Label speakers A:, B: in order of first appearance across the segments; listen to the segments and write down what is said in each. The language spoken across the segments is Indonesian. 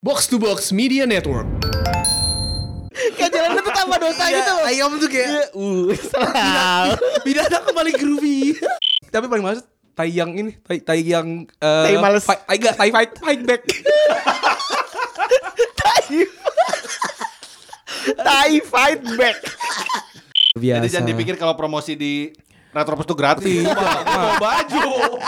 A: Box to Box Media Network.
B: Kayak jalan itu tambah dosa gitu loh.
C: Iya, Ayam tuh kayak
B: Uh, salah.
C: Bidadang kembali groovy Tapi paling maksud Tai yang ini Tai, tai yang eh,
B: Tai males.
C: fi- Tai enggak, Tai fight, fight back
B: Tai fight back.
C: Biasa
D: Jadi jangan dipikir kalau promosi di Retropus tuh gratis. Lupa, bawa baju.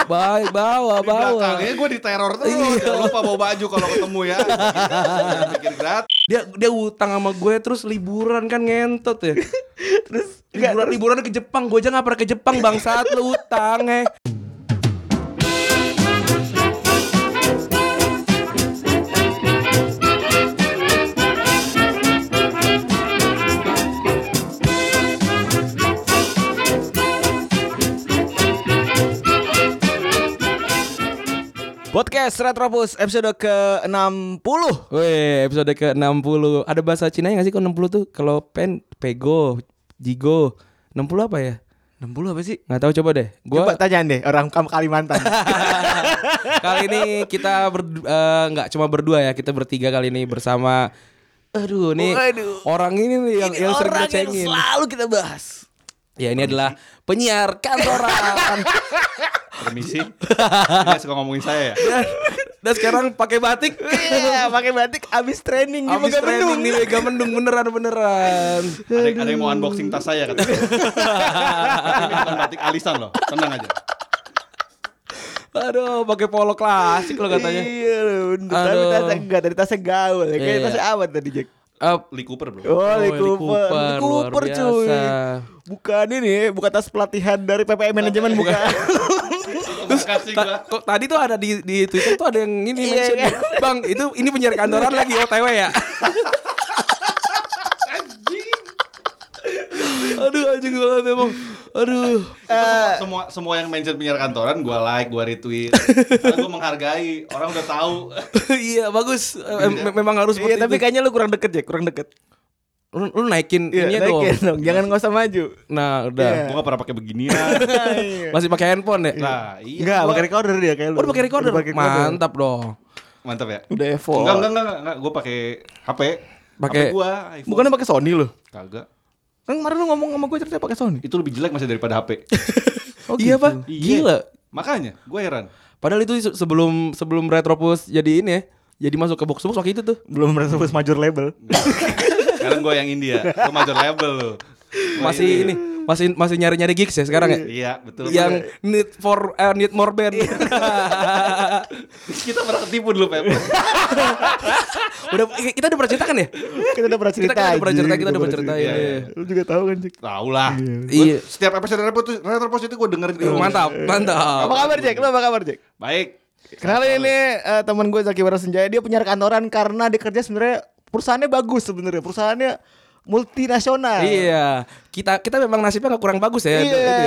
C: Baik, Iya. bawa,
D: Di ya
C: bawa Iya.
D: belakangnya gue diteror terus.
A: Iya,
D: Jangan lupa bawa baju kalau ketemu ya. Jangan pikir gratis.
C: Dia dia utang sama gue terus liburan kan ngentot ya Terus liburan, liburan ke Jepang Gue aja gak pernah ke Jepang Bang saat lu utang eh
B: Podcast Retropus episode ke-60.
C: Weh, episode ke-60 Ada bahasa Cina gak sih kok 60 tuh? Kalau pen, pego, jigo 60 apa ya?
B: 60 apa sih?
C: Gak tahu coba deh Gua
B: Coba tanya deh orang Kam- Kalimantan.
C: Kali ini kita berdu- eh, nggak cuma berdua ya, kita bertiga kali ini bersama. Aduh, nih
B: Waduh.
C: orang ini nih yang, yang sering
B: orang yang
C: dicengin.
B: selalu kita bahas.
C: Ya ini adalah penyiar kantoran.
D: Permisi. Dia suka ngomongin saya ya.
C: dan, dan sekarang pakai batik.
B: Iya, pakai batik abis training di
C: Abis training
B: Megamendung.
C: nih Mega Mendung beneran beneran.
D: Ada, ada yang mau unboxing tas saya katanya. Tapi ini bukan batik alisan loh. Tenang aja.
C: Aduh, pakai polo klasik lo katanya.
B: Iya, bener. Tapi
C: Aduh.
B: tasnya enggak, tadi tasnya gaul. Kayak
C: Iya.
B: tasnya awet tadi, Jack.
C: Eh,
D: Lee Cooper bro.
B: Oh, Lee
C: Lee
B: Cooper. Lee
C: Cooper,
B: Cooper,
C: luar
B: cuy.
C: biasa.
B: Bukan ini, bukan tas pelatihan dari PPM manajemen bukan.
D: Terus kasih gue.
C: ta- kok tadi tuh ada di di Twitter tuh ada yang ini
B: Iya,
C: mention.
B: kan?
C: Bang, itu ini penyiar kantoran lagi OTW ya. Aduh anjing banget emang. Aduh.
D: semua semua yang mention penyiar kantoran gue like gue retweet karena gue menghargai orang udah tahu
C: iya bagus. Eh, em- memang harus
B: Iya,
C: seperti
B: tapi
C: itu.
B: kayaknya lu kurang deket, Jack, kurang deket.
C: Lu, lu naikin
B: Iya,
C: ininya
B: naikin
C: dong.
B: dong. Jangan nggak usah maju.
C: Nah, udah.
B: Iya.
D: gue gak pernah pakai beginian
C: Masih pakai handphone ya?
D: nah iya
B: Enggak,
D: gua-
B: pakai recorder dia kayak lu.
C: Udah pakai recorder.
B: Udah pakai
C: Mantap dong.
D: mantap ya
B: Udah effort.
D: enggak enggak enggak, enggak. gue pakai HP
C: Pakai-
D: gue
B: Bukannya pakai Sony lu.
D: kagak
B: Kan kemarin lu ngomong sama gue cerita pakai Sony.
D: itu lebih jelek masih daripada HP
B: Oh,
C: iya,
B: gitu.
C: Pak.
D: Iya.
C: Gila.
D: makanya gue heran
C: Padahal itu se- sebelum sebelum Retropus jadi ini ya. Jadi masuk ke box box waktu itu tuh.
B: Belum merasa major label.
D: sekarang gue yang India gue major label lo
C: Masih ini, masih masih nyari-nyari gigs ya sekarang ya.
D: Oh, iya betul
C: yang need for eh, need more band
B: Iya.
D: kita pernah ketipu dulu Pep
C: udah kita udah pernah ceritakan ya
B: Kita udah pernah cerita.
C: kita kan udah pernah
B: anjing.
C: cerita kita udah pernah cerita
B: cerita.
C: iya,
D: Iya,
B: Lu juga tahu kan, Jack.
D: tahu lah
C: Iya.
D: Gua- setiap episode Retropos Retropos itu gue dengerin
C: iya.
D: terus.
C: mantap mantap
B: Apa kabar, Jack? Lu apa kabar, Jack?
D: baik
B: Kenapa ini eh, teman gue Zaki Bara Senjaya dia penyiar kantoran karena dia kerja sebenarnya perusahaannya bagus sebenarnya perusahaannya multinasional.
C: iya kita kita memang nasibnya nggak kurang bagus ya
B: Iya,
C: itu ya.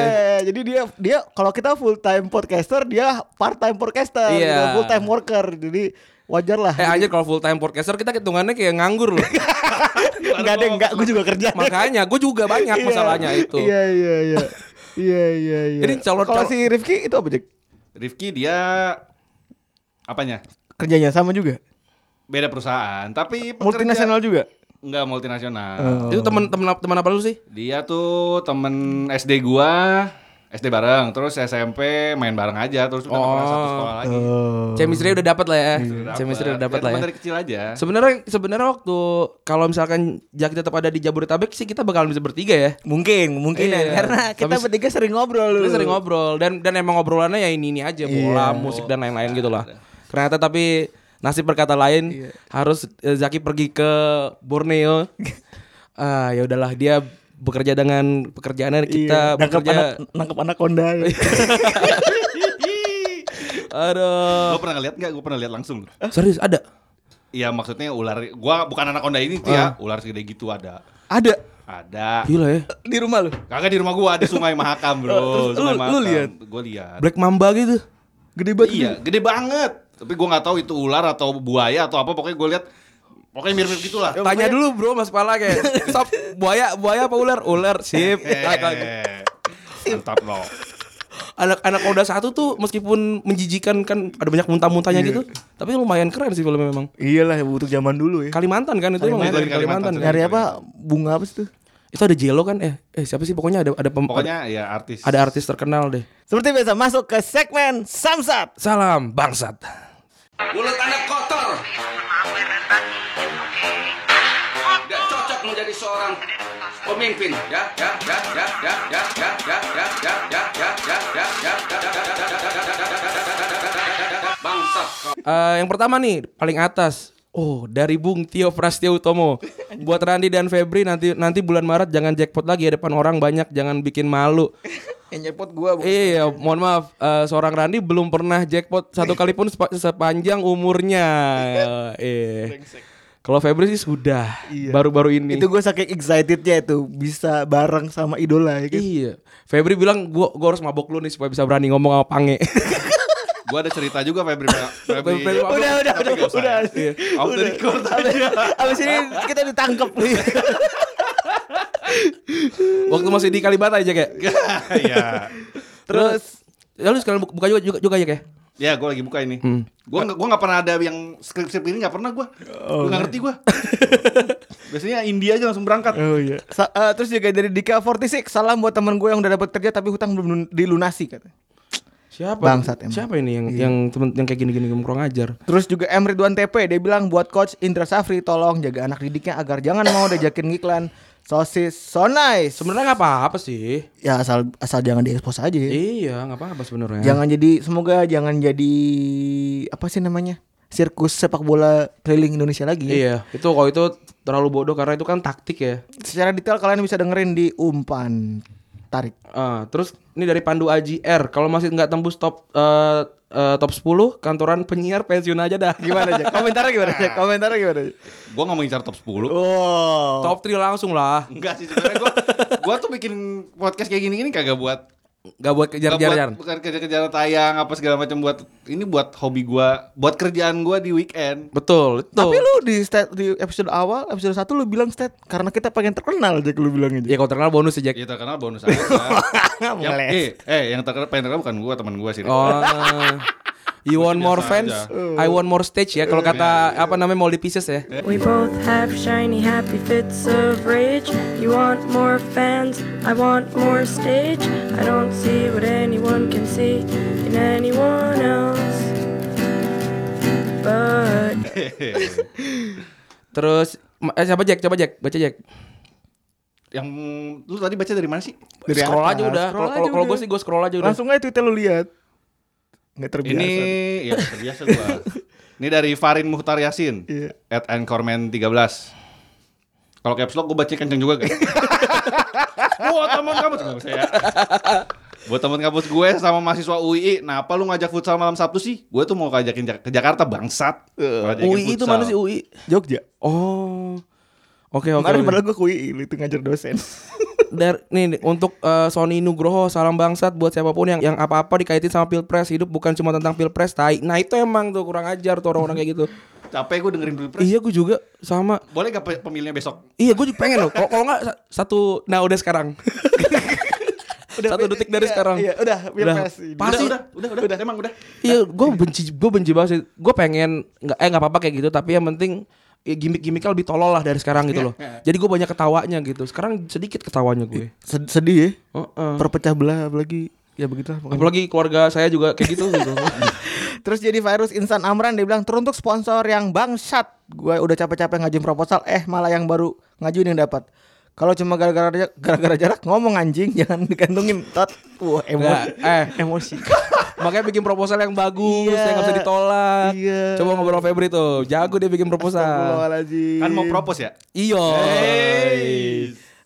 B: jadi dia dia kalau kita full time podcaster dia part time podcaster,
C: Iya.
B: gitu, full time worker, jadi wajar lah.
C: eh anjir kalau full time podcaster kita hitungannya kayak nganggur loh
B: enggak deh, enggak, gue juga kerja.
C: makanya gue juga banyak
B: Iya.
C: masalahnya itu
B: Iya iya iya. Iya iya iya.
C: Jadi calon-
B: kalau
C: calon-
B: si Rifki itu apa Jack?
D: Rifki dia apanya
B: Kerjanya sama juga,
D: beda perusahaan tapi pekerja-
B: multinasional juga.
D: nggak multinasional
C: itu teman teman teman apa lu sih
D: dia tuh temen SD gua SD bareng terus SMP main bareng aja terus udah nggak pernah satu sekolah lagi
C: chemistry udah dapat lah ya
D: Dapet.
C: chemistry Oh. udah dapat
D: Ya,
C: lah
D: cuma
C: ya
D: dari kecil aja
C: sebenarnya sebenarnya waktu kalau misalkan Jack tetap ada di Jabodetabek sih kita bakalan bisa bertiga ya
B: Mungkin, mungkin
C: Iya.
B: ya, karena kita
C: Habis-
B: bertiga sering ngobrol.
C: Kita
B: dulu.
C: sering ngobrol dan dan emang ngobrolannya ya ini ini aja bola, musik dan lain-lain gitu lah. Ternyata tapi nasib berkata lain harus eh, Zaki pergi ke Borneo. Ah ya udahlah dia bekerja dengan pekerjaannya kita
B: Iya. nangkep
C: bekerja.
B: anak nangkep anak konda
C: Aduh.
D: Lo pernah ngeliat nggak? Gue pernah lihat langsung.
C: Serius ada?
D: Iya maksudnya ular. Gua bukan anak onda ini tuh ya. Ular segede gitu ada.
B: ada
D: Ada.
C: Gila ya.
B: di rumah lu
D: Kagak di rumah gua ada Sungai Mahakam bro.
B: Terus
D: Sungai
B: lu- lu
D: Mahakam.
B: lihat?
D: Gue lihat.
C: Black Mamba gitu.
B: gede banget
D: Iya, gede banget. Tapi gua nggak tahu itu ular atau buaya atau apa. Pokoknya gue lihat. Pokoknya mirip-mirip gitulah.
C: Tanya dulu bro Mas Pala kayak Sob Iya,
D: Iya,
C: buaya buaya apa ular? Ular sip.
D: Eh, Mantap lo.
C: anak-anak Oda satu tuh meskipun menjijikan kan ada banyak muntah-muntahnya gitu, tapi lumayan keren sih filmnya memang.
B: Iyalah untuk zaman dulu ya.
C: Kalimantan kan itu emang
D: Kalimantan,
C: dari Kalimantan. kan?
D: Kalimantan.
B: Nyari apa? Bunga apa sih tuh?
C: Itu ada Jelo kan eh eh siapa sih pokoknya ada ada pem-
D: Pokoknya ya artis.
C: ada artis terkenal deh.
B: Seperti biasa masuk ke segmen Samsat.
C: Salam bangsat.
A: Mulut Anda kotor. Tidak cocok menjadi seorang pemimpin. Ya, ya, ya, ya, ya, ya, ya, ya, ya, ya, ya, ya, ya, ya, ya, ya, ya, ya, ya, ya, ya, ya, ya, ya, ya, ya. Bangsat kau.
C: Eh, yang pertama nih paling atas. Oh, dari Bung Tio Prasetyo Utomo. Buat Randi dan Febri nanti nanti bulan Maret jangan jackpot lagi ya depan orang banyak, jangan bikin malu.
B: Yang nyepot gua
C: Iya, mohon maaf. eh, seorang Randi belum pernah jackpot satu kali pun sepa- sepanjang umurnya. Eh. Kalau Febri sih sudah. Baru-baru ini.
B: Itu gue saking excitednya itu bisa bareng sama idola ya kan.
C: Iya. Febri bilang gua gua harus mabok lu nih supaya bisa berani ngomong sama Pange.
D: Gua ada cerita juga Febri. Febri.
C: Febri mabok.
B: Udah udah
D: Tapi
B: udah
D: nggak usah ya.
B: udah.
C: Iya.
D: Off the record aja.
B: Abis ini kita ditangkap nih.
C: Waktu masih di Kalibata aja kayak.
D: Ya.
C: Terus lalu sekalian bu- buka juga juga, juga ya kayak.
D: Ya, gua lagi buka ini.
C: Hmm.
D: Gua nggak- gua nggak pernah ada yang skrip skrip ini nggak pernah gua.
C: Oh,
D: Gua
C: iya.
D: nggak ngerti gua. Biasanya India aja langsung berangkat.
B: Oh iya. Sa- eh, terus juga dari Dika 46 salam buat temen gue yang udah dapat kerja tapi hutang belum lun- dilunasi katanya.
C: Siapa?
B: Bangsat emang. Iya.
C: Siapa ini yang yang temen yang kayak gini-gini kurang ajar?
B: Terus juga M Ridwan TP dia bilang buat coach Indra Safri tolong jaga anak didiknya agar jangan mau diajakin iklan sosis so nice.
C: Sebenarnya nggak apa-apa sih.
B: Ya asal asal jangan diekspos aja ya.
C: Iya, nggak apa-apa sebenarnya.
B: Jangan jadi semoga jangan jadi apa sih namanya? Sirkus sepak bola keliling Indonesia lagi. ya.
C: Iya, itu kalau itu terlalu bodoh karena itu kan taktik ya.
B: Secara detail kalian bisa dengerin di umpan tarik.
C: Ah, terus ini dari Pandu Aji R. Kalau masih nggak tembus top eh, eh, top 10 kantoran penyiar pensiun aja dah.
B: Gimana aja? Komentarnya gimana aja? Komentarnya gimana aja?
D: Gua nggak mau ngincar top
C: Oh.
D: 10.
B: Wow.
C: Top 3 langsung lah.
D: Enggak sih sebenarnya gua gua tuh bikin podcast kayak gini-gini kagak buat
C: Gak buat
D: nggak
C: kejar-kejaran.
D: buat- bukan kejar-kejaran tayang apa segala macam buat ini buat hobi gua, buat kerjaan gua di weekend.
C: Betul, itu.
B: Tapi lu di stat, di episode awal, episode 1 lu bilang stat karena kita pengen terkenal aja lu bilang aja.
C: Ya kalau terkenal bonus ya Jack.
D: Ya terkenal bonus aja. yang,
B: Ngeles.
D: eh, eh, yang terkenal pengen terkenal bukan gua, teman gua sih.
C: Oh. You want more
D: Biasa Iya.
C: fans? I want more stage ya. Kalau kata apa namanya Molly Pieces ya.
E: We both have shiny, happy fits of rage. You want more fans, I want more stage. I don't see what anyone can see in anyone else. But
C: Terus ma- eh, siapa Jack? Coba Jack, baca Jack.
D: Yang lu tadi baca dari mana sih?
B: Dari
C: scroll
B: atas,
C: aja udah.
B: scroll
C: Kalau
B: aja
C: kalau- kalau
B: udah.
C: gue sih gue scroll aja udah.
B: Langsung aja Twitter lu lihat. Nggak terbiasa.
D: Ini ya biasa gua. ini dari Farin Muhtar Yasin
B: Iya.
D: at Anchorman 13. Kalau caps lock gua baca kenceng juga guys. Buat teman kampus Nggak bisa ya. Buat teman kampus gue sama mahasiswa UI, kenapa lu ngajak futsal malam Sabtu sih? Gue tuh mau ngajakin Jak- ke Jakarta bangsat. Ngajakin
C: UI itu
D: futsal.
C: mana sih UI?
B: Jogja.
C: Oh. Oke oke.
B: Kemarin
C: oke.
B: padahal gue kui lu itu ngajar dosen.
C: Dar, nih nih, untuk eh, Sony Nugroho salam bangsat buat siapapun yang yang apa-apa dikaitin sama pilpres hidup bukan cuma tentang pilpres tai. Nah itu emang tuh kurang ajar tuh orang-orang kayak gitu.
D: Capek gue dengerin Pilpres.
C: iya gue juga sama.
D: Boleh gak pe- pemilihnya besok?
C: Iya gue juga pengen loh. Kalau kalau nggak sa- satu nah udah sekarang. satu detik dari
B: iya,
C: sekarang.
B: iya, udah, pilpres.
C: Udah, pasti
D: udah, udah, udah, udah, emang udah.
C: Iya, gue benci, gue benci banget sih. Gue pengen nggak, eh nggak apa-apa kayak gitu. Tapi yang penting ya gimmick-gimmicknya lebih tolol lah dari sekarang
B: Iya,
C: gitu loh. Jadi gue banyak ketawanya gitu. Sekarang sedikit ketawanya gue.
B: Sed- Sedih ya.
C: Heeh.
B: Perpecah belah apalagi ya begitulah pokoknya.
C: Apalagi keluarga saya juga kayak gitu. gitu.
B: Terus jadi virus insan Amran dia bilang teruntuk sponsor yang bangsat. Gue udah capek-capek ngajuin proposal eh malah yang baru ngajuin yang dapat. Kalau cuma gara-gara jarak, gara-gara jarak ngomong anjing jangan digantungin tot. Wah, emosi.
C: Nggak, eh.
B: emosi.
C: Makanya bikin proposal yang bagus,
B: Iya.
C: yang nggak bisa ditolak.
B: Iya.
C: Coba ngobrol sama Febri tuh, jago dia bikin proposal.
B: Astagfirullahaladzim.
D: Kan mau propose ya?
C: Iyo.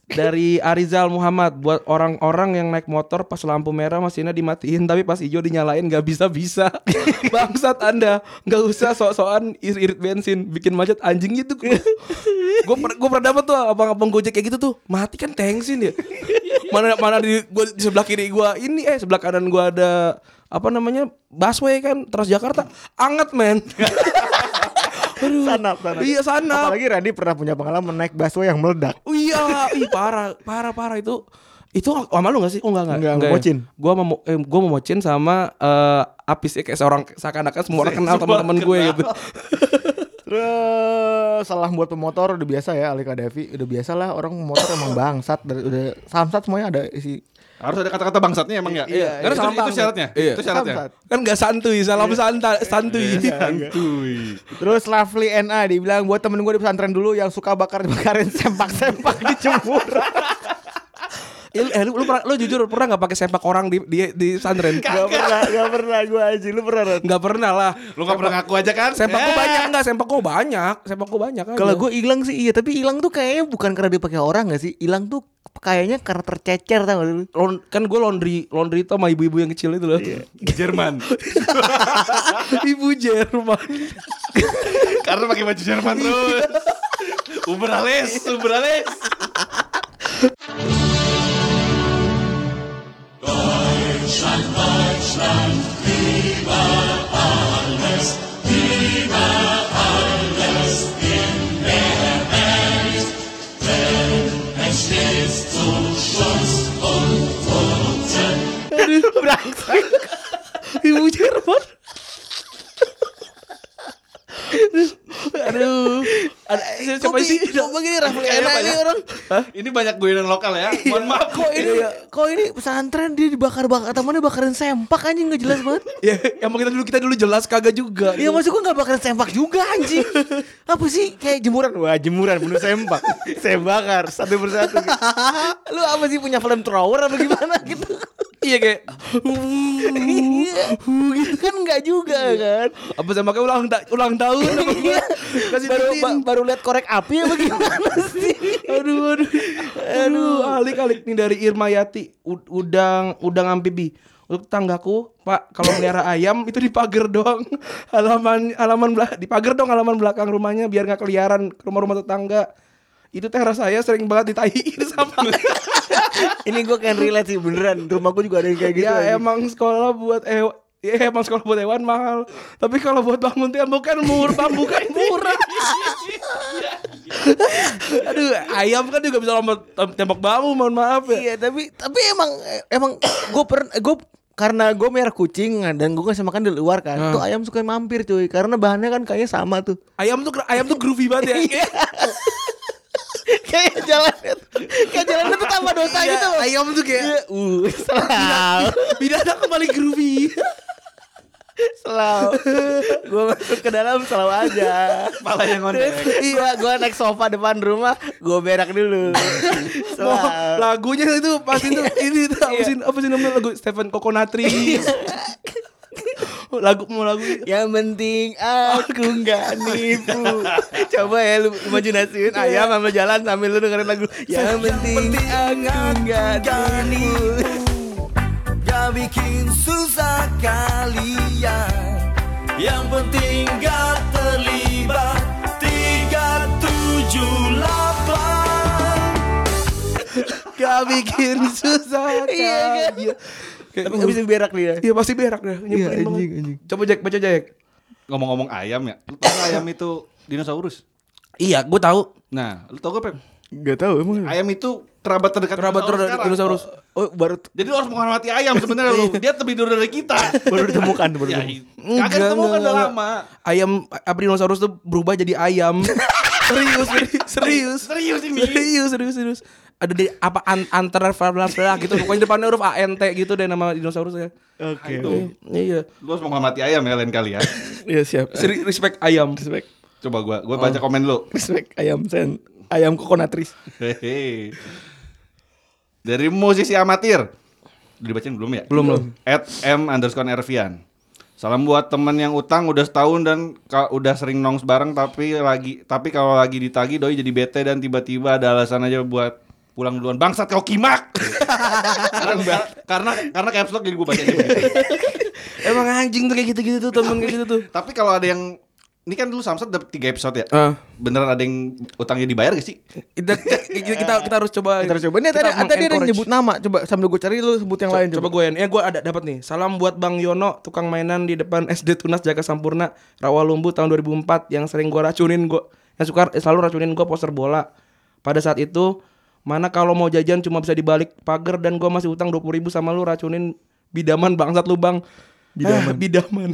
C: Dari Arizal Muhammad buat orang-orang yang naik motor pas lampu merah mesinnya dimatiin tapi pas hijau dinyalain nggak bisa bisa bangsat anda nggak usah sok-sokan irit-irit bensin bikin macet anjing gitu gue per, gua pernah dapet tuh abang-abang gojek kayak gitu tuh mati kan tensin dia mana mana di, gua, di sebelah kiri gue ini eh sebelah kanan gue ada apa namanya busway kan Transjakarta anget men Aduh.
B: Sanap, sanap.
C: Iya sanap.
B: Apalagi Randy pernah punya pengalaman naik busway yang meledak.
C: Oh iya, ih parah, parah parah itu Itu sama lu gak sih? Oh enggak enggak.
B: Enggak,
C: enggak
B: sama Mocin.
C: Gua sama Mo- eh, gua sama Mocin sama eh, Apis ya, kayak seorang seakan-akan semua orang kenal teman-teman gue gitu.
B: Terus salah buat pemotor udah biasa ya Ali Kadafi udah biasa lah orang motor emang bangsat dari udah samsat semuanya ada isi
D: Harus ada kata-kata bangsatnya emang ya?
B: Iya,
D: Karena
C: iya.
D: itu, itu syaratnya.
C: Iya.
D: Itu syaratnya.
B: samsat.
C: Kan gak santuy, salam santai santuy.
D: Santuy.
B: Terus Lovely NA dibilang buat temen gue di pesantren dulu yang suka bakar bakarin sempak-sempak di cembur.
C: Eh, lu- eh, lu, lu, pernah- lu jujur pernah gak pakai sepak orang di di, di pesantren?
B: gak pernah, gak pernah gue aja lu pernah. Ren?
C: Gak pernah lah.
D: Lu gak pernah ngaku aja kan?
C: Sepak gua banyak enggak? Sepak gua banyak. Sepak gua banyak aja.
B: Kalau gue hilang sih iya, tapi hilang tuh kayaknya bukan karena dipakai orang gak sih? Hilang tuh kayaknya karena tercecer tau gak lu?
C: Laun- kan gue laundry laundry itu sama ibu-ibu yang kecil itu loh.
D: Jerman.
C: ibu Jerman.
D: Karena pakai baju Jerman
C: Iya.
D: terus. Uber alis, Uber alis.
C: ibu Jerman. Aduh. Ada siapa
B: Kopi,
C: sih?
B: Coba gini Rafli NA ini orang
D: Ini banyak gue dan lokal ya.
C: Iya.
D: Mohon maaf
B: Kok ini kok ini pesantren dia dibakar-bakar temannya bakarin sempak anjing gak jelas banget.
C: Ya, emang kita dulu kita dulu jelas kagak juga.
B: Iya maksud gue gak bakaran sempak juga anjing Apa sih kayak jemuran Wah jemuran penuh sempak Saya bakar satu persatu Lu apa sih punya flamethrower apa gimana gitu
C: Iya kayak
B: Iya gitu Kan gak juga kan
C: apa sama kayak ulang ta- ulang tahun apa
B: Iya.
C: Kasih
B: baru
C: lilin.
B: ba- baru lihat korek api apa gimana sih
C: aduh aduh aduh alik alik nih dari Irma Yati U- udang udang amfibi untuk tanggaku pak kalau melihara ayam itu di pagar dong halaman halaman belah di pagar dong halaman belakang rumahnya biar nggak keliaran ke rumah-rumah tetangga itu teras saya sering banget ditahiin sama
B: Ini gue kan relate sih beneran Rumah gue juga ada yang kayak gitu
C: ya
B: anjing.
C: emang sekolah buat hewan ya emang sekolah buat hewan mahal tapi kalau buat bangun tembok kan murah bambu kan murah aduh ayam kan juga bisa lompat tem- tembok bambu mohon maaf ya
B: Iya tapi tapi emang emang gue pernah gue karena gue merah kucing kan, dan gue kasih makan di luar kan
C: Ah.
B: tuh ayam suka mampir cuy karena bahannya kan kayaknya sama tuh
C: ayam tuh ayam tuh groovy banget ya Kayak-
B: kayak jalannya kayak jalannya tuh tambah dosa
C: Iya,
B: gitu loh
C: ayam tuh kayak
B: Iya, uh selalu
C: bidana kembali groovy
B: selalu gue masuk ke dalam selalu aja
D: kepala yang ngondek.
B: iya gue naik sofa depan rumah gue berak dulu
C: Mau
B: selalu
C: lagunya itu pasti tuh ini tuh
B: Iya.
C: apa sih apa sih namanya lagu Stephen Coconutri lagu mau lagu
B: yang penting aku nggak nipu Coba ya lu imajinasiin ayam sama jalan sambil lu dengerin lagu Yang penting aku nggak nipu
F: Gak bikin susah kalian Yang penting gak terlibat Tiga tujuh delapan
C: gak bikin susah
B: Iya, kan?
C: Iya. Kayak,
B: Tapi abis itu berak dia
C: Iya pasti berak deh. Nyebelin
B: Iya,
C: banget.
B: anjing, anjing.
C: Coba Jack baca Jack.
D: Ngomong-ngomong ayam ya. Lu tau gak ayam itu dinosaurus?
C: Iya, gue tahu.
D: Nah, lu tau gak Pep?
B: Gak tau emang
D: Ayam itu kerabat terdekat
C: Hmm. Kerabat
D: dinosaurus
C: terdekat
D: sekarang.
C: dinosaurus. Iya.
B: Oh baru
D: Jadi lu harus menghormati ayam sebenarnya lu. Dia lebih dulu dari kita.
B: baru ditemukan baru
D: ya,
B: ditemukan.
D: kagak ditemukan udah lama. Nah,
C: Ayam apa dinosaurus tuh berubah jadi ayam. serius, serius,
D: Serius ini.
C: Serius, serius, serius. Ada di apa an, antara lah gitu. Pokoknya depannya huruf ANT gitu deh nama dinosaurusnya.
B: Oke.
D: Itu.
C: Iya.
D: Lu harus menghormati ayam ya lain kali ya.
B: Iya siap.
C: Seri, respect Oh. ayam.
B: Respect,
D: Coba gua gua baca komen lu.
B: respect ayam sen, ayam kokonatris.
D: Hehehe. Dari musisi amatir. Udah dibacain belum ya?
C: Belum, belum.
D: At M underscore Ervian. Salam buat temen yang utang udah setahun dan ka- udah sering nongs bareng tapi lagi tapi kalau lagi ditagi doi jadi bete dan tiba-tiba ada alasan aja buat pulang duluan bangsat kau kimak karena karena karena caps lock jadi gue baca
C: Emang anjing tuh kayak gitu-gitu tuh temen kayak gitu tuh.
D: tapi kalau ada yang ini kan dulu Samsat dapat tiga episode ya
C: Ah.
D: beneran ada yang utangnya dibayar gak sih
C: Kita, kita, kita, kita harus coba
B: Eh, Kita harus coba nih tadi tadi ada yang
C: meng-encourage.
B: nyebut nama. Coba sambil gue cari lu sebut yang lain
C: coba
B: coba.
C: gue ya gue ada dapat nih salam buat bang Yono tukang mainan di depan SD Tunas Jaga Sampurna Rawalumbu tahun eh, 2004 yang sering gue racunin gue yang suka selalu racunin gue poster bola pada saat itu Mana kalau mau jajan cuma bisa dibalik pagar dan gua masih utang 20 ribu sama lu racunin bidaman bangsat lu bang. Bidaman. bidaman.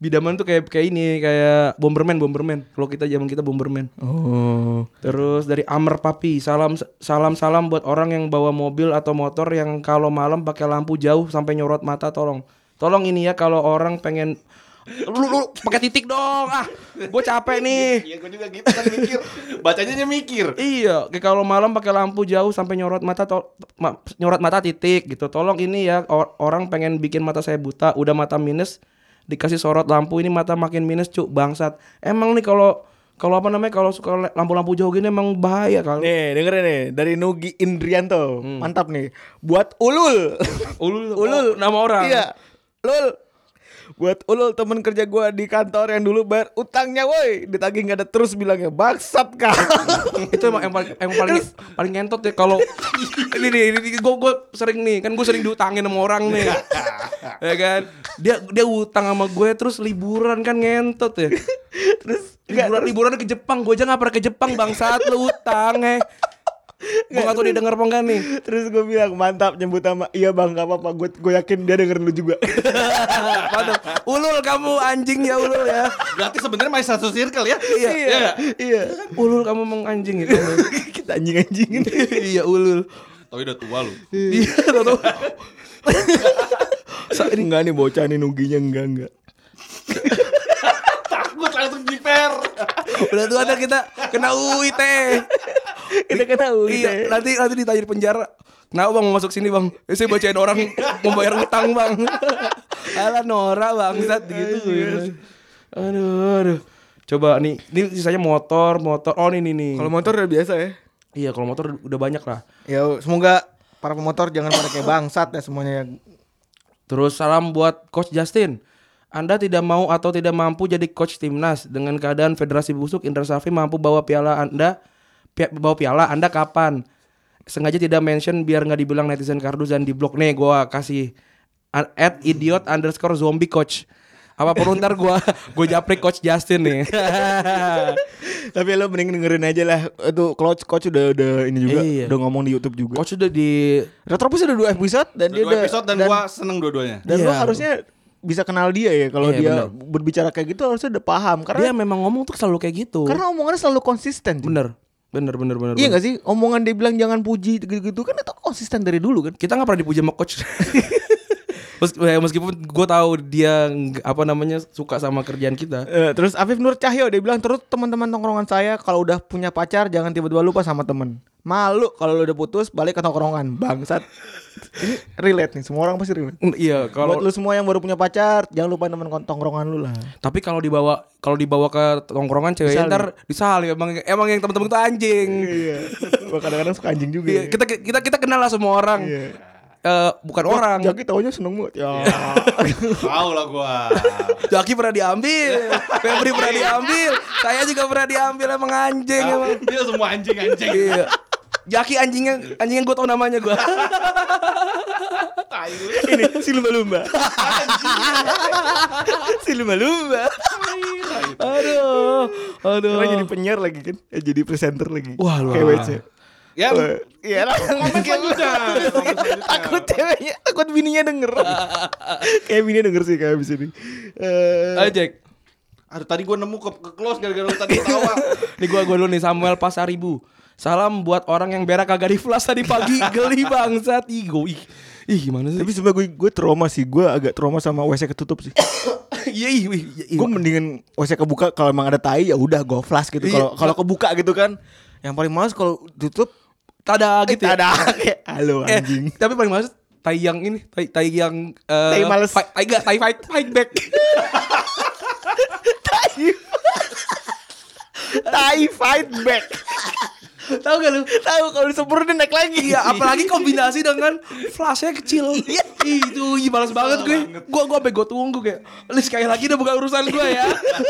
C: Bidaman tuh kayak kayak ini kayak bomberman bomberman. Kalau kita zaman kita bomberman.
B: Oh.
C: Terus dari Amr Papi, salam salam salam buat orang yang bawa mobil atau motor yang kalau malam pakai lampu jauh sampai nyorot mata tolong. Tolong ini ya kalau orang pengen lu lu pakai titik dong ah gue capek nih
D: Iya gue juga gitu kan mikir Bacanya aja mikir
C: iya kayak kalau malam pakai lampu jauh sampai nyorot mata to ma- nyorot mata titik gitu tolong ini ya or- orang pengen bikin mata saya buta udah mata minus dikasih sorot lampu ini mata makin minus cuk bangsat emang nih kalau kalau apa namanya kalau suka le- lampu-lampu jauh gini emang bahaya kalau
B: Nih dengerin nih dari Nugi Indrianto mantap nih buat Ulul
C: Ulul,
B: Hmm. Ulul
C: oh, nama orang.
B: iya Ulul buat Ulul temen kerja gua di kantor yang dulu bayar utangnya woi ditagih nggak ada terus bilangnya bangsat kak
C: itu emang yang paling emang paling paling ngentot ya kalau ini nih ini, gue gue sering nih kan gue sering diutangin sama orang nih ya kan dia dia utang sama gue terus liburan kan ngentot ya terus liburan liburan ke Jepang gue aja nggak pernah ke Jepang bang saat lu utang eh gue nggak tahu dia denger apa enggak nih
B: terus gua bilang mantap nyebut sama iya bang gak apa-apa gue gue yakin dia dengerin lu juga
C: Padahal, ulul kamu anjing ya ulul ya
D: Berarti sebenarnya masih satu circle ya
C: Iya.
D: nggak?
B: iya
C: ulul kamu emang anjing gitu
B: kita anjing anjingin
C: iya ulul
D: Tapi udah tua lu
C: iya tau
B: enggak nih bocah nih Nuginya enggak enggak
D: Takut langsung jiper
B: Iya,
C: udah tuh ada kita kena UIT
B: kita kan tahu
C: Iya, nanti nanti ditanya di penjara. Nah, Bang mau masuk sini, Bang. Eh, saya bacain orang membayar utang, Bang. Alah Nora, Bang. Zat, gitu. ya. Aduh, aduh. Coba nih, ini sisanya motor, motor. Oh, ini nih.
B: kalau motor udah biasa ya
C: Iya, kalau motor udah banyak lah.
B: ya semoga para pemotor jangan pada kayak bangsat ya semuanya
C: Terus salam buat Coach Justin. Anda tidak mau atau tidak mampu jadi coach timnas dengan keadaan federasi busuk Indra Safri mampu bawa piala Anda pi- bawa piala Anda kapan? Sengaja tidak mention biar nggak dibilang netizen kardus dan di blok nih gua kasih a- at idiot underscore zombie coach. Apa perlu ntar gua gua japri coach Justin nih.
B: tapi lo mending dengerin aja lah itu coach coach udah udah ini juga
C: Iya.
B: udah ngomong di YouTube juga
C: coach udah di
B: Retropus udah dua episode dan
D: Udah
B: dia
D: dua
B: udah
D: episode dan, gua seneng dua-duanya
B: dan lo
C: Iya.
B: harusnya bisa kenal dia ya kalau
C: Iya,
B: dia
C: benar.
B: berbicara kayak gitu harusnya udah paham
C: dia
B: karena
C: memang ngomong tuh selalu kayak gitu.
B: karena omongannya selalu konsisten cuy.
C: Bener, bener, bener, bener.
B: Kan- Iya
C: bener.
B: gak sih? Omongan dia bilang jangan puji gitu-gitu kan itu konsisten dari dulu kan?
C: kita nggak pernah dipuji sama coach Mes- eh, meskipun gue tahu dia nggak- apa namanya suka sama kerjaan kita
B: Eh, terus Afif Nur Cahyo dia bilang terus teman-teman tongkrongan saya kalau udah punya pacar jangan tiba-tiba lupa sama temen. Malu kalau lu udah putus balik ke tongkrongan bangsat. Ini relate nih semua orang pasti relate.
C: Mm, iya
B: Buat
C: kalau
B: lu semua yang baru punya pacar jangan lupa teman tongkrongan lu lah.
C: tapi kalau dibawa kalau dibawa ke tongkrongan cewek
B: Disalib.
C: ntar disalib emang emang yang temen-temen itu anjing
B: Iya. Gua kadang-kadang suka anjing juga.
C: Iya,
B: ya.
C: kita kita kita kenal lah sama orang
B: Iya. Oh,
C: Eh, bukan orang
B: Jaki taunya seneng banget. Ya.
D: Tahu lah gua
C: Jaki pernah diambil Febri pernah
B: Iya.
C: diambil saya juga pernah diambil emang anjing emang
D: Dia semua anjing-anjing
C: iya Jaki anjingnya anjingnya gue tau namanya gue
D: Tai lu.
B: Ini si lumba-lumba. si lumba-lumba.
C: aduh aduh
B: Karena jadi penyiar lagi kan. Eh, jadi presenter lagi.
C: Wah, lu.
B: Kayak WC.
D: Ya gitu.
B: Wah, Iya lah.
D: Komen selanjutnya Komen selanjutnya.
B: Takut ceweknya, takut bininya denger. kayak bininya denger sih kayak abis ini. Eh,
C: Ayo, Jack
D: Aduh tadi gua nemu ke, ke close gara-gara lu tadi ketawa
B: Iya.
C: Nih gua gua dulu nih Samuel Pasaribu. Salam buat orang yang berak kagak di flash tadi pagi geli bangsat ih gua- ih. Ih gimana sih?
B: tapi sebenernya gue, gue trauma sih Gue agak trauma sama WC ketutup sih
C: Iya ih, ih, ih.
B: Gue mendingan WC kebuka kalau emang ada tai ya udah gue flash gitu Kalau
C: Iya.
B: kalau kebuka gitu kan Yang paling males kalau tutup
C: tada gitu. ya.
B: Ada Iya. kayak Halo
C: Eh,
B: anjing
C: tapi paling males tai yang ini, tai tai yang eh,
B: Tai males.
C: fight- Tai enggak, tai fight fight back.
B: Tai fight back
C: Tahu gak lu?
B: Tahu kalau disemprotin naik lagi
C: Iya, apalagi kombinasi dengan flashnya kecil. Ih, Itu ih males Iya. banget gue. Gua gua sampai gua tunggu kayak, "Li sekali lagi udah bukan urusan gua ya."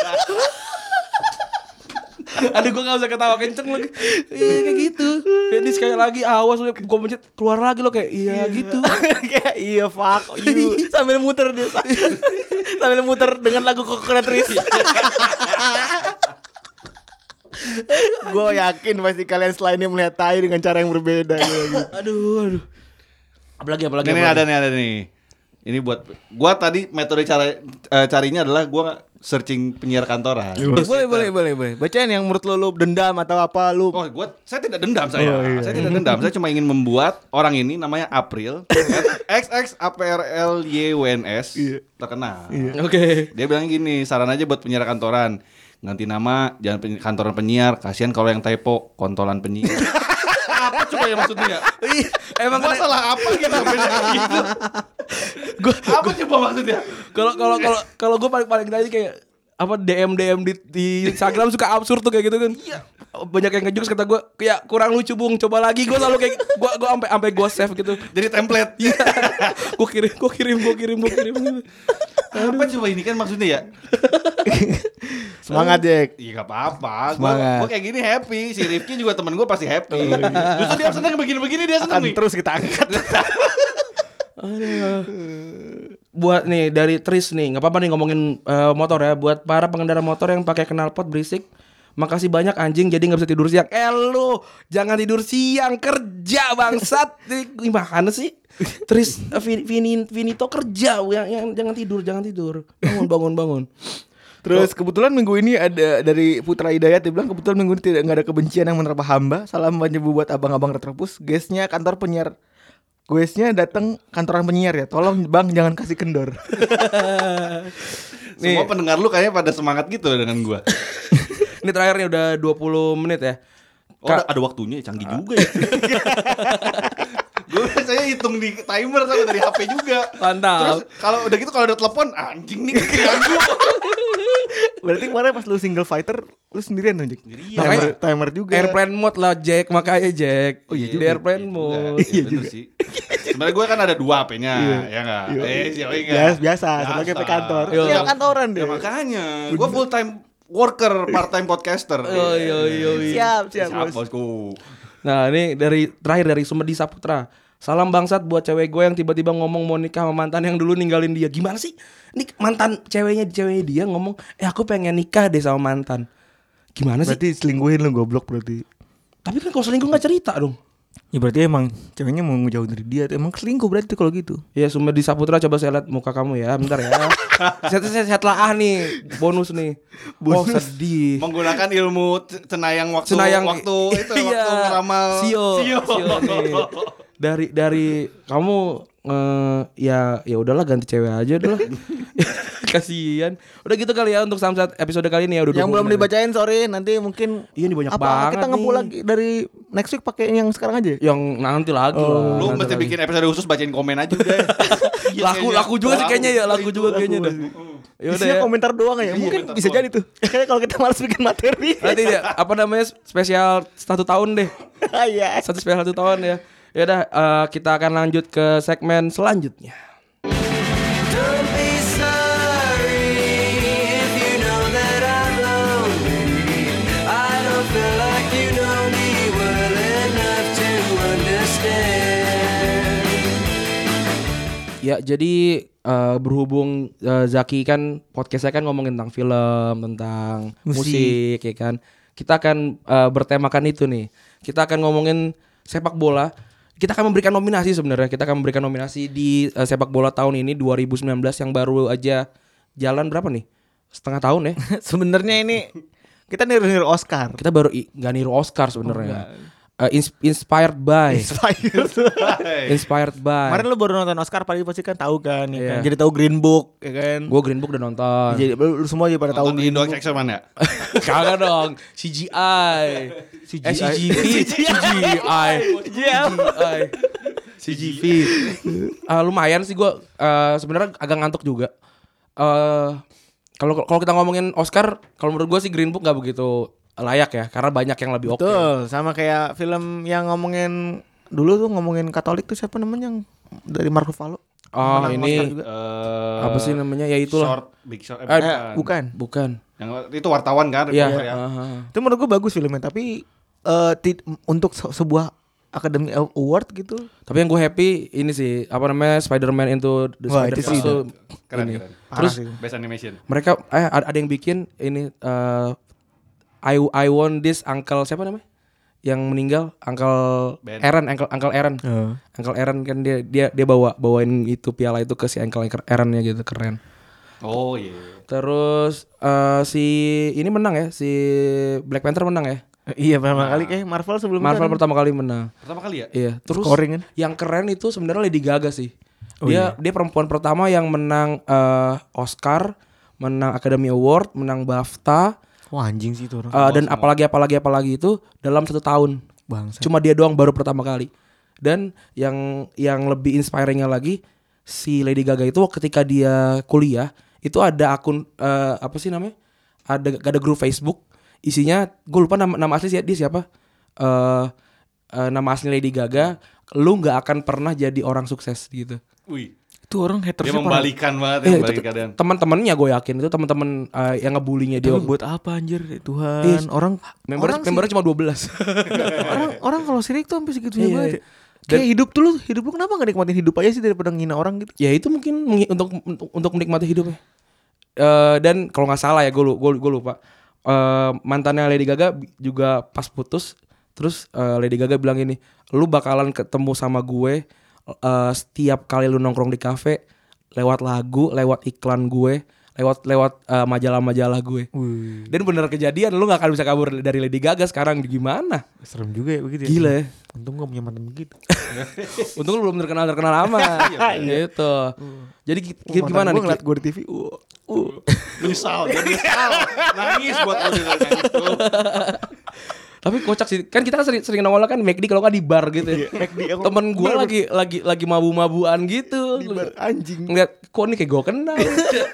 C: Aduh gue gak usah ketawa kenceng lagi Iya kayak gitu Jadi sekali lagi awas lu Gue pencet keluar lagi lo kayak Iya gitu
B: kayak iya fuck you sambil muter dia sambil muter dengan lagu kokretris Gue yakin pasti kalian selainnya melihat tai dengan cara yang berbeda. gitu.
C: aduh, aduh. Apalagi apalagi.
D: Ini nih,
C: apalagi.
D: ada nih ada nih. Ini buat gua tadi metode cara eh, carinya adalah gua searching penyiar kantoran.
B: Eh, boleh,
C: Iya.
B: boleh, boleh, boleh. Bacain yang menurut lo, lo dendam atau apa lu.
D: Oh, gua saya tidak dendam saya.
B: Iya,
D: Saya tidak dendam. Saya cuma ingin membuat orang ini namanya April XXAPRLYWNS
B: Iya.
D: terkenal.
C: Oke.
D: Dia bilang gini, saran aja buat penyiar kantoran. Ganti nama, jangan penyi- kantoran penyiar. Kasihan kalau yang typo, kontolan penyiar. apa coba yang maksudnya?
C: Ih, Emang
D: Emang
C: kan-
D: salah apa gitu? Beda gitu. apa coba maksudnya?
C: kalau kalau kalau kalau gue paling paling tadi kayak apa DM DM di, di Instagram suka absurd tuh kayak gitu kan. Banyak yang ngejokes kata gue kayak kurang lucu bung coba lagi gue selalu kayak gue gue sampai sampai gue save gitu.
D: Jadi template.
B: Iya.
C: gue kirim gue kirim gue kirim gue kirim gitu.
D: apa coba ini kan maksudnya ya?
B: Semangat, Jack.
D: Iya gak apa-apa Gua-
B: Semangat. Oh, iya.
D: Gua kayak gini happy Si Rifki juga temen gue pasti happy Justru dia seneng begini-begini Dia seneng
B: Akan
D: nih
B: terus kita angkat.
C: buat nih dari Tris nih nggak apa-apa nih ngomongin eh, motor ya buat para pengendara motor yang pakai knalpot berisik makasih banyak anjing jadi nggak bisa tidur siang eh lu jangan tidur siang kerja bangsat Ini gimana sih Tris eh, Vin- Vini, Vinito kerja yang, yang jangan tidur jangan tidur bangun bangun bangun
B: Terus kebetulan minggu ini ada dari Putra Hidayat dia bilang kebetulan minggu ini tidak nggak ada kebencian yang menerpa hamba. Salam panjebu buat abang-abang retropus. Guysnya kantor penyiar. Guysnya datang kantoran penyiar ya. Tolong bang jangan kasih kendor.
D: Semua pendengar lu kayaknya pada semangat gitu dengan gue
C: ini terakhir nih udah 20 menit ya
D: Oh ada ada waktunya ya, canggih juga ya Gue biasanya hitung di timer sama dari HP juga
C: Mantap.
D: Terus kalau udah gitu kalau ada telepon Anjing nih kekirian gue
B: Berarti kemarin pas lu single fighter lu sendirian dong Jack. Timer,
C: Makanya-
B: timer juga.
C: airplane mode lah Jack makanya Jack oh, iya di airplane mode
D: Iya juga sih Sebenernya gue kan ada dua HP-nya Ya gak?
B: Iya.
D: Eh siapa
B: Biasa, biasa, sebagai P kantor.
C: Iya.
B: Iya, kantoran
D: Ya
B: deh.
D: makanya Gue full time worker, part time podcaster
C: Oh, iya, iya, iya.
B: Siap, siap,
D: Siap
B: Bos.
D: bosku
C: Nah ini dari terakhir dari Sumedi Saputra Salam bangsat buat cewek gue yang tiba-tiba ngomong mau nikah sama mantan yang dulu ninggalin dia Gimana sih? Ini mantan ceweknya ceweknya dia ngomong Eh aku pengen nikah deh sama mantan Gimana sih?
B: Berarti selingkuhin lu goblok berarti.
C: Tapi kan kalau selingkuh gak cerita dong
B: Ya berarti emang ceweknya mau jauh dari dia. Emang selingkuh berarti kalau gitu.
C: Ya Sumedi Saputra coba saya lihat muka kamu ya Bentar ya Saya, saya, saya telah nih Bonus nih Oh sedih
D: menggunakan ilmu c- cenayang waktu
C: Senayang
D: waktu itu ya,
C: iya.
D: waktu meramal
C: Sio,
D: Sio.
C: Sio nih. dari dari kamu eh, ya ya udahlah ganti cewek aja udahlah kasihan udah gitu kali ya untuk samsat episode kali ini ya udah
B: Yang
C: 20
B: belum
C: menit.
B: dibacain sorry nanti mungkin
C: Iya, ini banyak
B: apa,
C: banget
B: Kita ngepu
C: nih.
B: lagi dari next week pakai yang sekarang aja.
C: yang nanti lagi
B: Oh.
C: lah
D: lu
C: nanti
D: mesti
C: lagi.
D: bikin episode khusus bacain komen aja udah
C: laku laku juga sih kayaknya ya laku juga kayaknya dah ya udah
B: Isinya
C: ya.
B: komentar doang ya. Mungkin bisa jadi tuh. Kayaknya kalau kita malas bikin materi.
C: nanti ya apa namanya spesial satu tahun deh
B: Iya.
C: satu spesial satu tahun ya ya udah eh, kita akan lanjut ke segmen selanjutnya
F: Don't be sorry if you know that I'm lonely. I don't feel like you know me well enough to understand.
C: Ya, jadi eh, berhubung eh, Zaki kan podcastnya kan ngomongin tentang film, tentang musik, ya kan. Kita akan eh, bertemakan itu nih. Kita akan ngomongin sepak bola. Kita akan memberikan nominasi sebenarnya. Kita akan memberikan nominasi di eh, sepak bola tahun ini 2019 yang baru aja jalan berapa nih? Setengah tahun ya.
B: Sebenarnya ini kita niru-niru Oscar.
C: Kita baru i- nggak niru Oscar sebenarnya.
B: Oh,
C: Eh, ins- inspired by, inspired by.
B: Kemarin lu baru nonton Oscar paling pasti kan tahu kan, ya kan?
C: Iya.
B: Jadi tahu Green Book, ya kan?
C: Gue Green Book udah nonton.
B: Jadi lu lu semua jadi pada tahu
D: tahun di
B: Green
D: Indo
B: Book.
D: Action Man ya
C: Kagak dong, CGI. CGI. Eh, CGV. CGI.
B: Iya.
C: CGI. CGV. Eh, lumayan sih gua eh, sebenarnya agak ngantuk juga. Eh kalau kalau kita ngomongin Oscar, kalau menurut gua sih Green Book nggak begitu layak ya karena banyak yang lebih oke.
B: Betul, sama kayak film yang ngomongin dulu tuh ngomongin Katolik tuh siapa namanya yang dari Marco Valo?
C: Oh,
B: Menang
C: ini
B: Oscar juga.
D: Eh,
C: apa sih namanya? Ya itulah.
D: short big short eh,
C: Eh,
D: bukan.
B: Bukan.
C: Bukan.
D: yang itu wartawan kan
C: Iya.
D: reporter ya.
C: heeh.
B: Itu menurut gue bagus filmnya, tapi eh, ti- untuk se- sebuah Academy Award gitu.
C: Tapi yang gue happy ini sih apa namanya Spider-Man into the
B: Wah, itu
C: Spider-Verse
B: sih
C: tuh
D: keren
C: ini.
D: keren
B: Terus
D: best animation
C: mereka eh ada ada yang bikin ini eh I I want this uncle siapa namanya? Yang meninggal uncle
D: Ben.
C: Aaron, uncle uncle Aaron. Uncle Aaron kan dia dia dia bawa bawain itu piala itu ke si uncle Aaronnya gitu keren.
D: Oh iya.
C: Terus eh, si ini menang ya, si Black Panther menang ya.
B: Iya pertama kali kayak Marvel kan. sebelum itu
C: Marvel
B: ada.
C: pertama kali menang.
D: Pertama kali ya?
C: Iya, terus
B: Scoring kan? Oh iya.
C: yang keren itu sebenarnya Lady Gaga sih. Dia dia perempuan pertama yang menang eh, Oscar, menang Academy Award, menang BAFTA
B: Wah anjing sih itu
C: eh,
B: orang
C: dan apalagi apalagi apalagi itu dalam satu tahun.
B: bangsa.
C: Cuma dia doang baru pertama kali. Dan yang yang lebih inspiringnya lagi si Lady Gaga itu ketika dia kuliah itu ada akun eh, apa sih namanya? Ada ada grup Facebook isinya gue lupa nama nama asli sih- dia siapa? Eh eh, nama asli Lady Gaga, lu nggak akan pernah jadi orang sukses gitu.
D: Wih.
B: Itu orang hatersnya
D: Dia
B: parah.
D: membalikan banget
C: Eh,
D: ya,
C: itu
D: membalikan
C: tuh
D: keadaan.
C: teman-temannya gue yakin itu teman-teman eh, yang ngebulinya dia.
B: Tapi buat apa anjir Tuhan
C: Iya,
B: orang
C: Member
B: orang, sih-
C: membernya cuma 12.
B: orang orang kalau sirik tuh sampai segitu
C: Iya,
B: banget.
C: iya.
B: ya. Kayak hidup tuh lu, hidup lu kenapa gak nikmatin hidup aja sih daripada ngina orang gitu?
C: ya itu mungkin mengi- untuk untuk, untuk menikmati hidupnya Eh dan kalau nggak salah ya gue lupa eh, mantannya Lady Gaga bi- juga pas putus terus eh, Lady Gaga bilang ini lu bakalan ketemu sama gue eh, setiap kali lu nongkrong di kafe lewat lagu lewat iklan gue lewat lewat eh, majalah-majalah gue dan bener kejadian lu nggak akan bisa kabur dari Lady Gaga sekarang gimana
B: Serem juga ya begitu.
C: Gila
B: Gila.
C: ya.
B: Untung gak punya mantan begitu.
C: Untung lu belum terkenal terkenal amat
B: Iya,
C: gitu. Jadi gi- gi- gimana nih?
B: nih? ngeliat gue di TV. Uh, uh.
D: Menyesal, dia menyesal. Nangis buat lo dia nangis tuh.
C: Tapi kocak sih. Kan kita kan sering, sering nongol kan McD kalau nggak di bar gitu.
B: Iya,
C: ya. Temen gue lagi lagi lagi mabu-mabuan gitu.
B: Di bar anjing.
C: Ngeliat kok nih kayak gue kenal.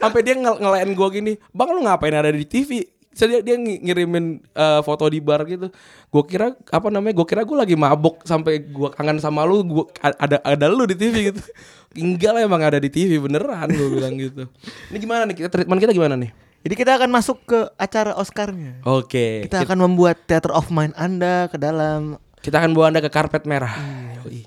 C: Sampai dia ngel ngelain gue gini, "Bang, lu ngapain ada di TV?" So, dia, dia ngi- ngirimin eh, foto di bar gitu. Gue kira apa namanya? Gue kira gue lagi mabok sampai gue kangen sama lu, gua a- ada ada lu di TV gitu. Enggak lah emang ada di TV beneran gue bilang gitu. Ini gimana nih? Kita treatment kita gimana nih?
B: Jadi kita akan masuk ke acara Oscarnya.
C: Oke.
B: Kita akan membuat theater of mind Anda ke dalam
C: Kita akan bawa Anda ke karpet merah.
B: Iya,
C: Yoi.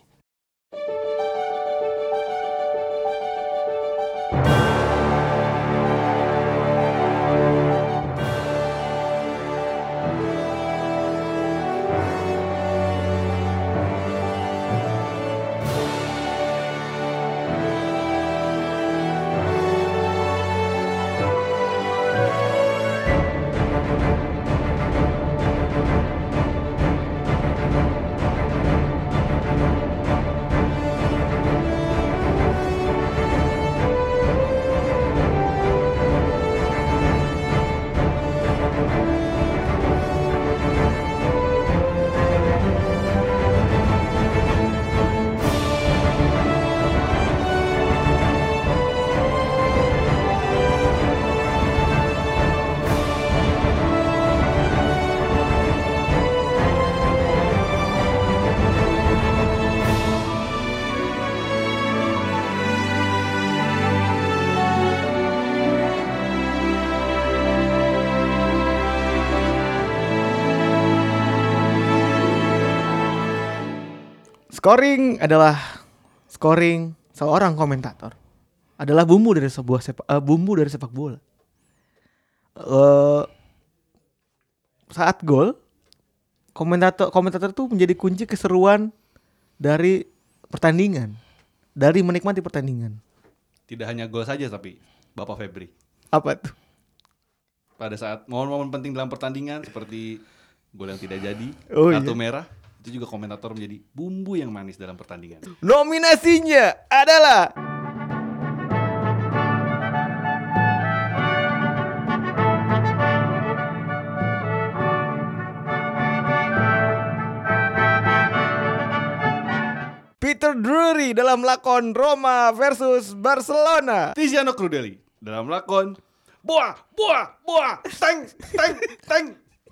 B: Scoring adalah scoring seorang komentator adalah bumbu dari sebuah sepak eh, bumbu dari sepak bola. eh saat gol komentator komentator itu menjadi kunci keseruan dari pertandingan, dari menikmati pertandingan.
D: Tidak hanya gol saja tapi Bapak Febri.
B: Apa tuh?
D: Pada saat momen-momen penting dalam pertandingan seperti gol yang tidak jadi,
B: Oh, iya.
D: kartu merah, itu juga komentator menjadi bumbu yang manis dalam pertandingan.
B: Nominasinya adalah Peter Drury dalam lakon Roma versus Barcelona.
D: Tiziano Crudeli dalam lakon Boa, boa, boa, teng, teng, teng.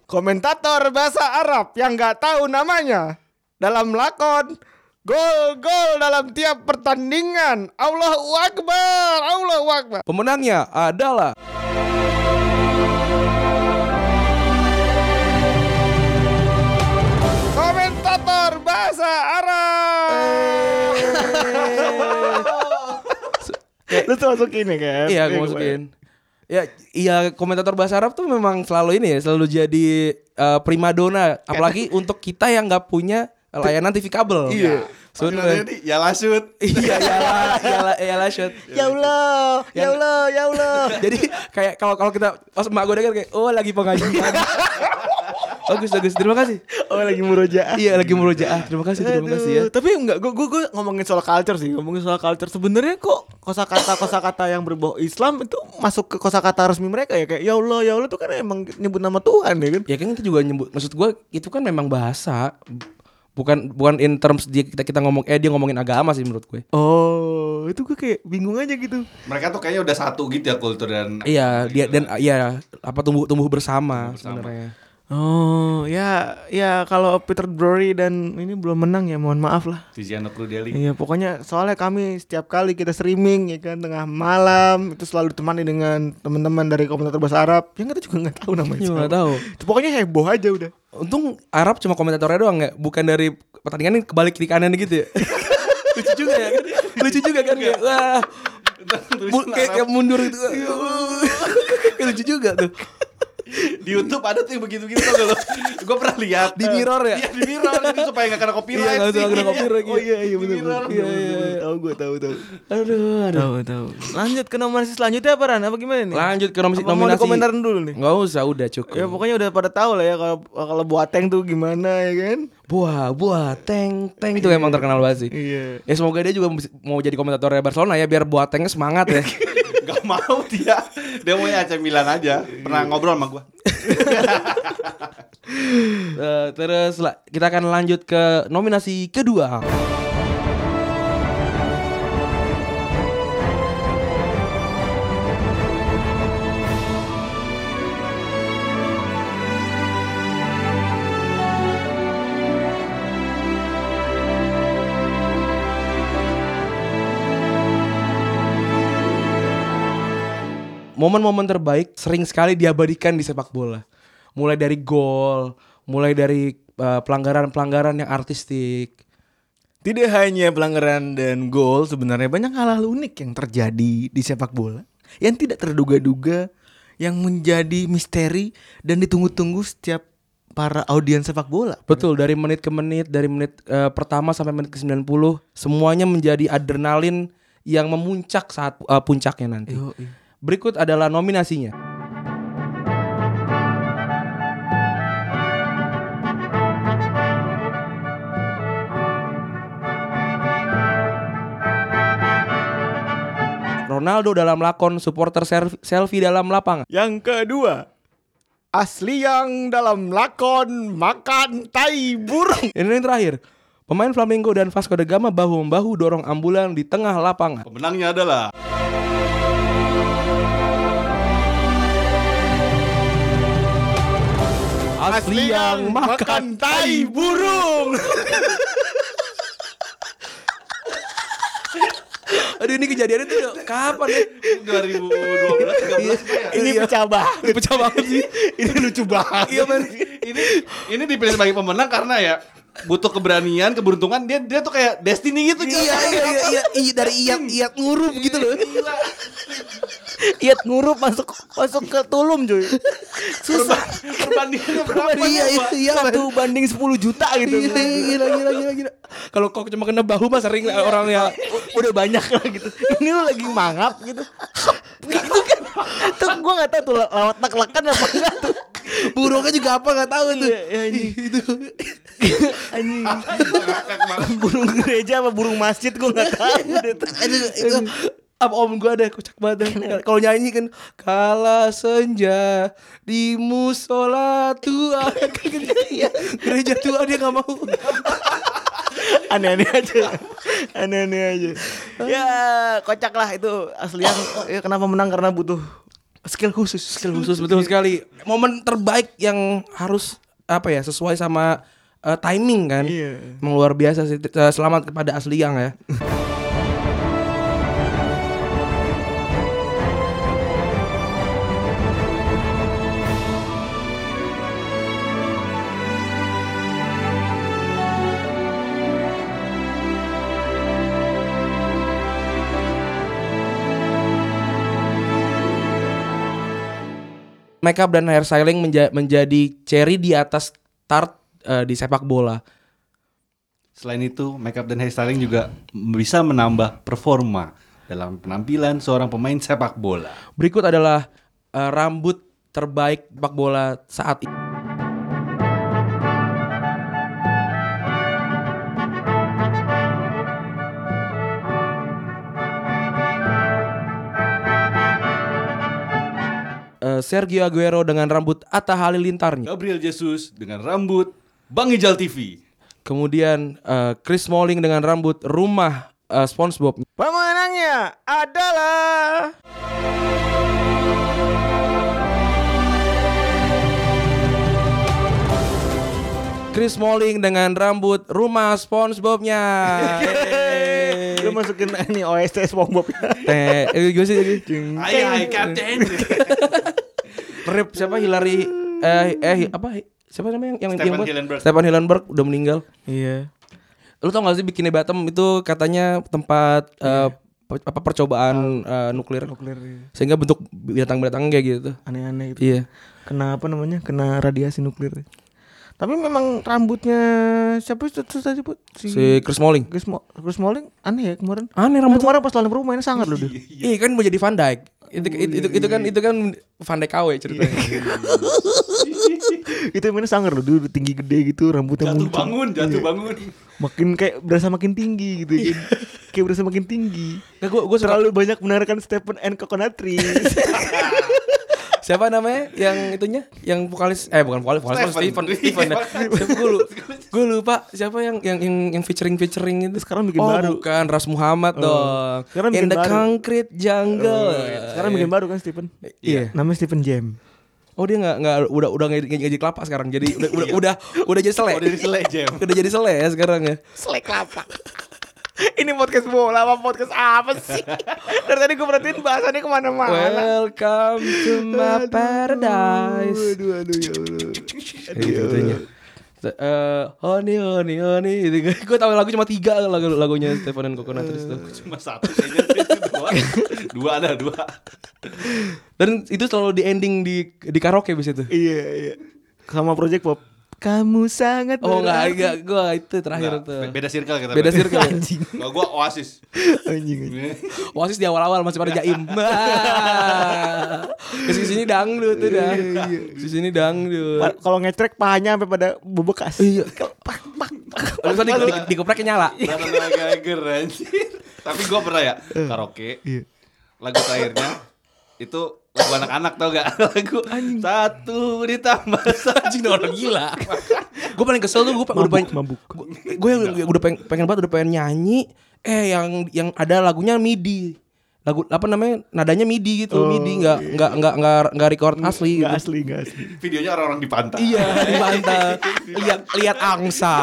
B: Komentator bahasa Arab yang nggak tahu namanya dalam lakon gol-gol dalam tiap pertandingan. Allahu Akbar, Allahu Akbar.
C: Pemenangnya adalah
B: komentator bahasa Arab. Lu tuh masuk ini kan?
C: Iya gue masukin Ya iya komentator bahasa Arab tuh memang selalu ini ya Selalu jadi eh, primadona apalagi untuk kita yang nggak punya layanan TV kabel. Iya. Sudah.
D: ya lasut.
C: Iya, ya lah, ya lah,
B: Ya Allah, ya Allah, ya Allah.
C: Jadi kayak kalau kalau kita pas emak gue denger kayak oh lagi pengajian. bagus bagus terima kasih.
B: Oh lagi murojaah.
C: Iya lagi murojaah. Terima kasih terima
B: Aduh,
C: kasih ya.
B: Tapi enggak gua, gua, gua ngomongin soal culture sih, ngomongin soal culture sebenarnya kok kosakata kosakata yang berbau Islam itu masuk ke kosakata resmi mereka ya kayak ya Allah ya Allah itu kan emang nyebut nama Tuhan ya kan.
C: Ya kan kita juga nyebut maksud gue itu kan memang bahasa bukan bukan in terms dia kita kita ngomong eh dia ngomongin agama sih menurut gue.
B: Oh, itu gue kayak bingung aja gitu.
D: Mereka tuh kayaknya udah satu gitu ya kultur dan
C: Iya, dia dan iya apa tumbuh tumbuh bersama sebenarnya.
B: Oh, ya ya kalau Peter Drury dan ini belum menang ya mohon maaf lah.
D: Tiziano Crudeli.
B: Iya pokoknya soalnya kami setiap kali kita streaming ya kan tengah malam itu selalu ditemani dengan teman-teman dari komunitas berbahasa Arab yang kita juga nggak tahu namanya.
C: Iya,
B: siapa.
C: nggak tahu.
B: Pokoknya heboh aja udah.
C: Untung Arab cuma komentatornya doang ya, bukan dari pertandingan ini kebalik kiri kanan gitu ya. lucu juga ya kan? Lucu juga kan kayak wah. mu- kayak, kayak mundur gitu. Kayak lucu juga tuh.
D: Di YouTube ada tuh yang begitu-begitu tau gak Gue pernah lihat
C: Di mirror ya?
D: Iya di mirror itu supaya gak
C: Iya,
D: kena copyright
C: nggak usah
D: sih.
C: kena copyright.
B: Oh iya iya benar.
D: Mirror.
B: Iya iya. iya. Tahu gue tahu tahu.
C: Aduh, aduh.
B: Tahu tahu. Lanjut ke nominasi selanjutnya apa Ran? Apa gimana nih?
C: Lanjut ke nominasi.
B: Apa mau dikomentarin dulu nih?
C: Enggak usah, udah cukup.
B: Ya pokoknya udah pada tahu lah ya kalau kalau Boateng tuh gimana ya kan?
C: Buah, buah, teng, teng itu emang terkenal banget sih.
B: Iya.
C: Ya semoga dia juga mau jadi komentatornya Barcelona ya biar buat tengnya semangat ya.
D: Gak mau dia. Dia maunya AC Milan aja.
C: Iya.
D: Pernah ngobrol sama gue.
C: Eh, terus la- kita akan lanjut ke nominasi kedua. momen-momen terbaik sering sekali diabadikan di sepak bola. Mulai dari gol, mulai dari uh, pelanggaran-pelanggaran yang artistik.
B: Tidak hanya pelanggaran dan gol, sebenarnya banyak hal-hal unik yang terjadi di sepak bola yang tidak terduga-duga, yang menjadi misteri dan ditunggu-tunggu setiap para audiens sepak bola.
C: Betul, dari menit ke menit, dari menit uh, pertama sampai menit ke 90, semuanya menjadi adrenalin yang memuncak saat uh, puncaknya nanti. Berikut adalah nominasinya. Ronaldo dalam lakon supporter self- selfie dalam lapangan.
B: Yang kedua, asli yang dalam lakon makan tai burung.
C: Ini yang terakhir. Pemain Flamengo dan Vasco da Gama bahu-membahu dorong ambulan di tengah lapangan.
D: Pemenangnya adalah
C: Asli yang makan.
B: tai burung.
C: Aduh ini kejadiannya tuh kapan ya? Iya.
D: 2012 13
B: Ini pecah banget.
C: Ini pecah banget sih.
B: Ini lucu banget.
C: Iya men.
D: ini ini dipilih sebagai pemenang karena ya butuh keberanian, keberuntungan. Dia dia tuh kayak destiny gitu.
C: Iya iya iya iya iya dari iat iat ngurup gitu loh.
B: Iat Iya, ngurup masuk masuk ke tulum cuy. Susah.
D: Perbandingannya berapa?
C: Iya iya iya. men.
B: Satu banding 10 juta gitu.
C: Iya, Gila gila gila gila. Kalau kok cuma kena bahu mah sering lah orang ya.
B: Udah banyak lah gitu. Ini lu lagi mangap gitu. gitu kan. Tuh gua enggak tahu tuh lewat lek-lekan apa enggak tuh.
C: Burungnya juga apa nggak tahu tuh.
B: itu. Anjing. burung gereja apa burung masjid gua enggak tahu deh tuh.
C: Aduh, itu apa om gue ada kocak banget dah. kalau nyanyi kan kala senja di musola tua Iya, gereja tua dia nggak mau
B: aneh-aneh aja aneh-aneh aja ya kocak lah itu asli yang ya, kenapa menang karena butuh skill khusus skill
C: khusus betul sekali momen terbaik yang harus apa ya sesuai sama eh, timing kan
B: Iya.
C: Emang luar biasa sih Eh, selamat kepada asli yang ya makeup dan hair styling menja- menjadi cherry di atas tart eh, di sepak bola.
D: Selain itu, makeup dan hairstyling juga bisa menambah performa dalam penampilan seorang pemain sepak bola.
C: Berikut adalah eh, rambut terbaik sepak bola saat ini. Eh, Sergio Aguero dengan rambut Atta Halilintarnya.
D: Gabriel Jesus dengan rambut Bang Ijal TV.
C: Kemudian eh, Chris Smalling dengan rambut rumah eh, SpongeBob.
B: Pemenangnya adalah
C: Chris Smalling dengan rambut rumah SpongeBobnya.
B: Lu masukin ini OST SpongeBob ya.
C: Teh, eh, gue sih jadi Iya.
D: Hai hai Captain.
C: rip siapa Hillary eh eh apa siapa namanya yang yang
D: Stephen
C: yang buat?
D: Hillenburg.
C: Stephen Hillenburg udah meninggal.
B: Iya.
C: Lu tau gak sih Bikini Bottom itu katanya tempat eh, pe- apa percobaan eh, nuklir.
B: Nuklir
C: Sehingga bentuk binatang-binatang kayak gitu.
B: aneh-aneh gitu.
C: Iya.
B: Kena apa namanya? Kena radiasi nuklir. Tapi memang rambutnya siapa itu tuh tadi put?
C: Si Chris Smalling.
B: Chris, Mo- Chris Smalling aneh ya kemarin.
C: Aneh
B: Nah,
C: rambutnya.
B: kemarin pas lawan Roma ini sangat loh dia.
C: Iya kan mau jadi Van Dijk. Itu, itu, itu, itu kan itu kan Van Dijk KW ceritanya.
B: itu yang mainnya sangar loh dulu tinggi gede gitu rambutnya
D: Jatuh
B: muncul
D: bangun, jatuh bangun.
B: makin kayak berasa makin tinggi gitu kayak, kayak berasa makin tinggi
C: Nggak, gua- gua suka-
B: terlalu banyak menarikan Stephen and Coconut Tree
C: Siapa namanya yang itunya? Yang vokalis eh bukan vokalis, vokalis Steven,
D: Stephen. Iya.
C: Steven. ya. Siapa gue lupa. Gue lupa siapa yang yang yang yang featuring-featuring itu
B: Sekarang bikin
C: oh,
B: baru. Oh.
C: bukan Ras Muhammad dong.
B: Sekarang
C: In
B: bikin
C: the
B: baru. Oh,
C: concrete jungle.
B: sekarang bikin baru kan Stephen
C: Iya.
B: namanya Stephen Jam
C: Oh dia nggak nggak udah udah nggak nggak jadi kelapa sekarang. Jadi udah udah udah, udah jadi sele.
D: Udah jadi selek, Jam.
C: udah jadi sele ya sekarang ya.
B: Selek kelapa ini podcast bola apa podcast apa sih dari tadi gue perhatiin bahasannya kemana-mana
C: Welcome to my paradise.
B: aduh aduh ya Allah.
C: Kayak gitu gitunya. Eh, honey, honey, honey. Gue tahu lagu cuma tiga kan lagu lagunya Stefan dan Coconut Trees tuh.
D: Cuma satu kayaknya itu doang. Dua ada dua.
C: Dan itu selalu di ending di di karaoke bis itu.
B: iya iya sama Project Pop kamu sangat
C: Oh enggak,
B: berarti.
C: enggak, gue itu terakhir
D: Nah,
C: tuh.
D: be- beda circle kita.
C: Beda
D: berarti.
C: circle. ya?
B: anjing
D: Kalau gua Oasis.
B: anjing, anjing.
C: Oasis di awal-awal masih pada jaim. Ke sini dangdut tuh dah. Ke sini
B: Pa-
C: dangdut.
B: kalau ngecrek pahanya sampai pada bebekas. Iya. Pak, pak, pak.
C: Lalu tadi di, di, dikepreknya nyala.
B: Iya.
D: Tanah Geiger anjir. Tapi gue pernah ya
B: Eh.
D: karaoke.
B: Iya.
D: Lagu terakhirnya itu lagu anak-anak tau gak? Lagu satu ditambah satu.
C: Anjing udah orang gila. gue paling kesel tuh gue udah
B: Mabuk,
C: pengen
B: mabuk.
C: Gue udah pengen, pengen banget udah pengen nyanyi eh yang yang ada lagunya MIDI. Lagu apa namanya? Nadanya MIDI
B: Oh,
C: gitu, MIDI enggak
B: iya.
C: enggak enggak enggak enggak record asli gitu.
B: Gak asli, gak asli.
D: Videonya orang-orang di pantai.
C: Iya di pantai. Lihat lihat angsa.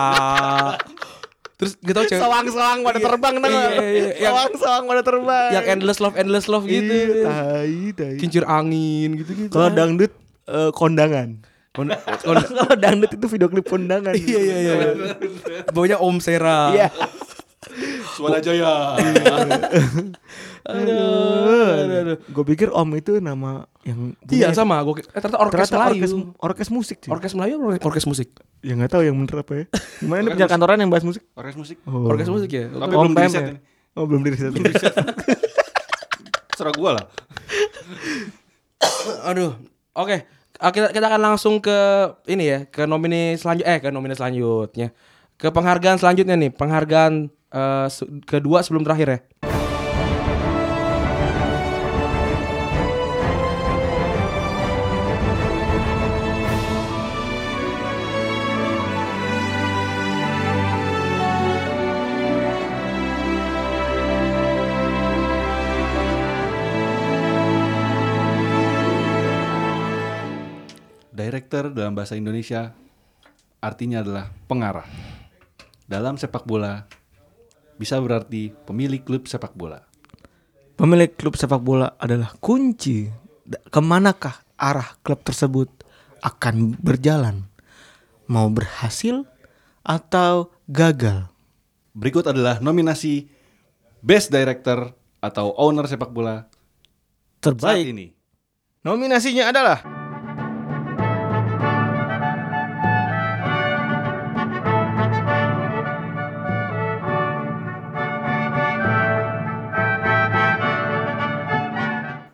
C: Terus gak tau cewek
B: Soang-soang pada terbang tau gak?
C: Iya, iya, iya.
B: Soang-soang pada terbang.
C: yang endless love endless love gitu.
B: Iya, tai, tai.
C: Kincir angin gitu gitu.
B: Kalau dangdut eh, kondangan.
C: Oh,
B: Kalau dangdut itu video klip kondangan.
C: Iya iya iya. Baunya Om Sera.
B: Iya.
D: Suara Jaya.
C: Aduh, aduh, aduh.
B: Gue pikir Om itu nama yang
C: Iya
B: punya-
C: sama gue. Eh, ternyata orkes
B: Ternyata
C: Melayu.
B: orkes, Iya. orkes musik sih.
C: Orkes Melayu apa orkes- orkes musik.
B: Ya nggak tahu yang bener apa ya. Gimana ini punya kantoran yang bahas musik?
D: Orkes musik.
B: Oh.
C: Orkes musik ya.
D: Tapi
B: Om
D: belum
B: Pem
D: di-reset
B: ya?
D: ini.
B: Oh belum di riset.
D: Serah gue lah.
C: Aduh. Oke. Ah, Kita, kita akan langsung ke ini ya, ke nomine selanjutnya eh ke nomine selanjutnya. Ke penghargaan selanjutnya nih, penghargaan eh, se- kedua sebelum terakhir ya.
D: Director dalam bahasa Indonesia artinya adalah pengarah. Dalam sepak bola bisa berarti pemilik klub sepak bola.
B: Pemilik klub sepak bola adalah kunci da- kemanakah arah klub tersebut akan berjalan, mau berhasil atau gagal.
D: Berikut adalah nominasi Best Director atau Owner sepak bola saat
B: Terbaik
D: ini.
B: nominasinya adalah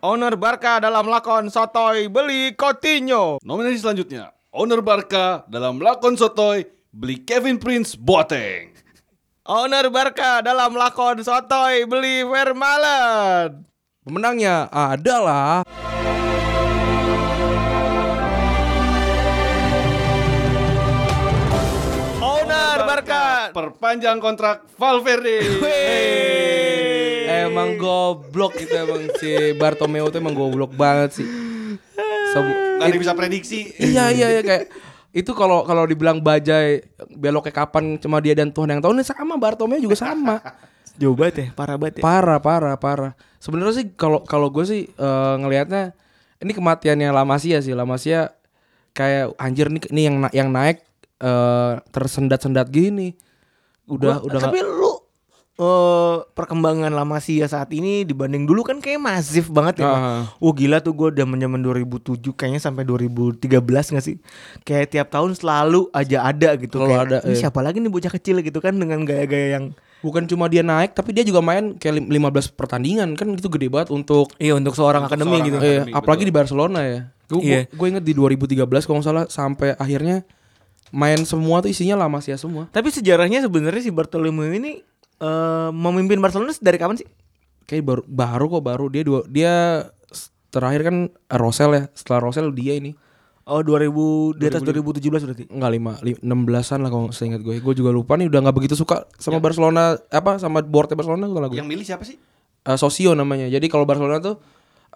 B: Owner Barca dalam lakon Sotoy beli Coutinho.
D: Nominasi selanjutnya, owner Barca dalam lakon Sotoy beli Kevin Prince Boateng.
B: Owner Barca dalam lakon Sotoy beli Vermaelen.
C: Pemenangnya adalah
B: Owner Barca.
D: Perpanjang kontrak Valverde.
C: emang goblok itu emang si Bartomeu itu emang goblok banget sih. Sem-
D: Gak ada yang bisa prediksi.
C: iya iya iya kayak itu kalau kalau dibilang bajai beloknya kapan cuma dia dan Tuhan yang tahu ini sama Bartomeu juga sama
B: Jauh banget ya, parah banget ya.
C: parah parah parah sebenarnya sih kalau kalau gue sih eh, ngelihatnya ini kematiannya Lamasia sih Lamasia kayak anjir nih nih yang na- yang naik eh, tersendat-sendat gini udah udah
B: tapi
C: nggak-
B: lu eh, perkembangan lama sih ya saat ini dibanding dulu kan kayak masif banget ya.
C: Ah.
B: Oh gila tuh gue zaman zaman 2007 kayaknya sampai 2013 gak sih? Kayak tiap tahun selalu aja ada gitu.
C: Selalu
B: kayak,
C: ada,
B: "Ini
C: iya.
B: siapa lagi nih bocah kecil gitu kan dengan gaya-gaya yang
C: bukan cuma dia naik tapi dia juga main kayak lim- 15 pertandingan kan itu gede banget untuk
B: Iya untuk seorang akademi
D: seorang
B: gitu.
D: akademi.
C: Iya, apalagi di Barcelona ya. Gue
B: Iya.
C: gue inget di 2013 kalau nggak salah sampai akhirnya main semua tuh isinya lama sih semua.
B: Tapi sejarahnya sebenarnya si Bartolomeu ini eh, memimpin Barcelona dari kapan sih?
C: Kayak baru baru kok baru dia dua dia s- terakhir kan Rosel ya. Setelah Rosel dia ini
B: Oh 2000 di atas 2017 berarti.
C: enggak lima, li- 16-an lah kalau seingat gue. Gue juga lupa nih udah nggak begitu suka sama Barcelona apa sama board Barcelona kalau gue.
D: Yang milih siapa sih?
C: Eh, Sosio namanya. Jadi kalau Barcelona tuh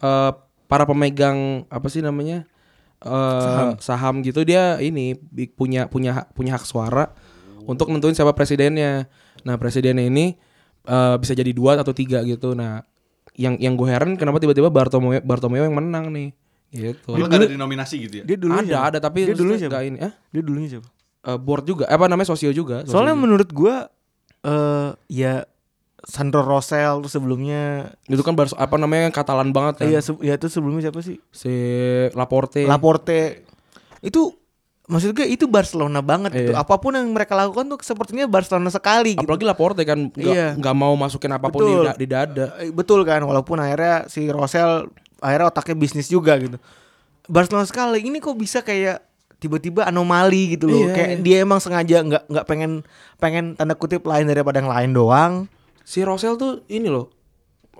C: eh, para pemegang apa sih namanya Eh, saham. gitu dia ini bi- punya punya hak- punya hak suara untuk nentuin siapa presidennya. Nah presidennya ini eh, bisa jadi dua atau tiga gitu. Nah yang yang gue heran kenapa tiba-tiba Bartomeu Bartomeu yang menang nih gitu.
D: Kalau gak ada di nominasi gitu ya.
B: Dia dulu
C: ada ada tapi
B: dia dulu
C: maksudnya
B: siapa?
C: nggak ini eh
B: Dia dulunya siapa?
C: eh, board juga Eh, apa namanya sosio juga Sosio
B: Soalnya
C: juga.
B: menurut gua eh ya Sandro Rosell tuh sebelumnya
C: itu kan Barso- apa namanya yang Katalan banget kan
B: iya se- ya itu sebelumnya siapa sih?
C: si Laporte
B: Laporte. Eh. Itu maksud gue itu Barcelona banget gitu.
C: Iya.
B: Apapun yang mereka lakukan tuh sepertinya Barcelona sekali gitu.
C: Apalagi Laporte kan nggak
B: Iya.
C: nggak mau masukin apapun di,
B: Betul.
C: da- di dada.
B: Eh, betul kan walaupun akhirnya si Rosel akhirnya otaknya bisnis juga gitu Barcelona sekali ini kok bisa kayak tiba-tiba anomali gitu loh
C: Iya,
B: kayak
C: iya.
B: dia emang sengaja nggak nggak pengen pengen tanda kutip lain daripada yang lain doang
C: Si Rosel tuh ini loh.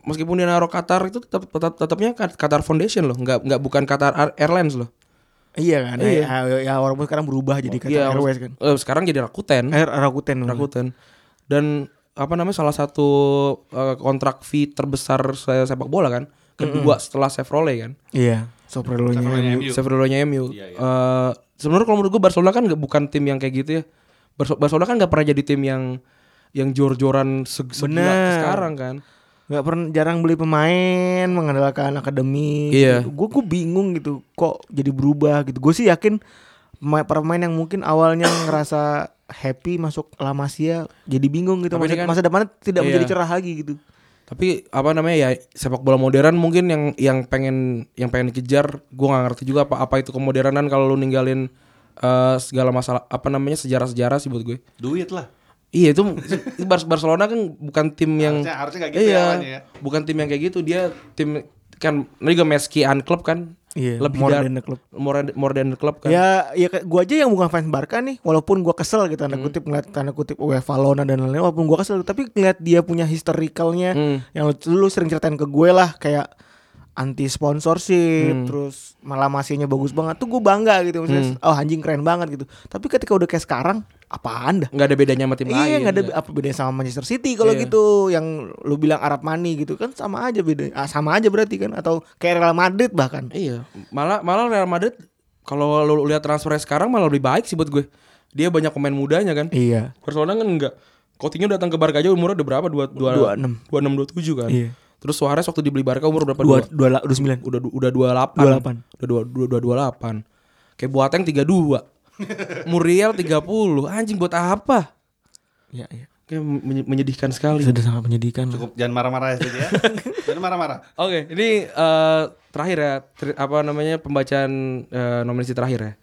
C: Meskipun dia naruh Qatar itu tetap tetap tetapnya Kat- Qatar Foundation loh, nggak nggak bukan Qatar Air- Airlines loh.
B: iya kan
C: Iya.
B: ya, ya walaupun sekarang berubah jadi kata
C: Iya,
B: Airways kan
C: eh, sekarang jadi Rakuten.
B: Air Rakuten
C: Rakuten. Dan apa namanya salah satu eh, kontrak fee terbesar se- sepak bola kan? Kedua setelah Chevrolet kan.
B: iya Soprolonya
D: Pemainnya MU.
C: Chevroletnya MU. Eh, Sebenarnya kalau menurut gue Barcelona kan nggak- bukan tim yang kayak gitu ya. Barso- Barcelona kan nggak pernah jadi tim yang yang jor-joran se- segila
B: Bener.
C: sekarang kan.
B: nggak pernah jarang beli pemain mengandalkan akademi
C: Iya.
B: gue gue bingung gitu kok jadi berubah gitu gue sih yakin pema- para pemain yang mungkin awalnya ngerasa happy masuk La Masia jadi bingung gitu
C: Tapi
B: masa,
C: ini kan-
B: masa depannya tidak
C: Iya.
B: menjadi cerah lagi gitu
C: tapi apa namanya ya sepak bola modern mungkin yang yang pengen yang pengen dikejar gue nggak ngerti juga apa apa itu kemodernan kalau lu ninggalin eh, segala masalah apa namanya sejarah-sejarah sih buat gue
D: Duit lah.
C: iya itu itu Bar- Barcelona kan bukan tim yang Iya,
D: Harusnya- harusnya nggak gitu ya awalnya ya.
C: bukan tim yang kayak gitu dia tim kan Liga Meski an club kan
B: Iya,
C: lebih
B: more
C: dar-
B: than a club.
C: more, more than a club kan
B: ya ya gue aja yang bukan fans Barca nih walaupun gue kesel gitu
C: Hmm.
B: tanda kutip ngeliat tanda kutip UEFA Lona dan lain-lain walaupun gue kesel tapi ngeliat dia punya historicalnya
C: Hmm.
B: yang lu, lu sering ceritain ke gue lah kayak anti
C: Hmm.
B: sponsorship terus malah masihnya bagus banget tuh gue bangga gitu maksudnya oh anjing keren banget gitu tapi ketika udah kayak sekarang apaan dah
C: nggak ada bedanya sama tim lain
B: Iya nggak ada
C: ya.
B: apa bedanya sama Manchester City kalau
C: Iya.
B: gitu yang lu bilang Arab Money gitu kan sama aja beda ah, sama aja berarti kan atau kayak Real Madrid bahkan
C: Iya, malah malah Real Madrid kalau lu lihat transfernya sekarang malah lebih baik sih buat gue. Dia banyak pemain mudanya kan.
B: iya
C: Barcelona kan enggak. Coutinho datang ke Barca aja umurnya udah berapa? 2 26
B: 26.
C: 27 kan.
B: Iya.
C: Terus Suarez waktu dibeli Barca umur berapa?
B: dua
C: Dua-
B: dua la- dua sembilan
C: udah du- udah 28.
B: 28.
C: Udah dua- dua- dua- 28. Kayak Boateng 32. Muriel 30. Anjing buat apa?
B: Iya, iya.
C: Kayak menye- menyedihkan sekali.
B: Sudah sangat menyedihkan. lah.
D: Cukup jangan marah-marah ya Sid, ya. Jangan marah-marah.
C: Oke, ini eh, terakhir ya, Ter- apa namanya pembacaan eh, nominasi terakhir ya.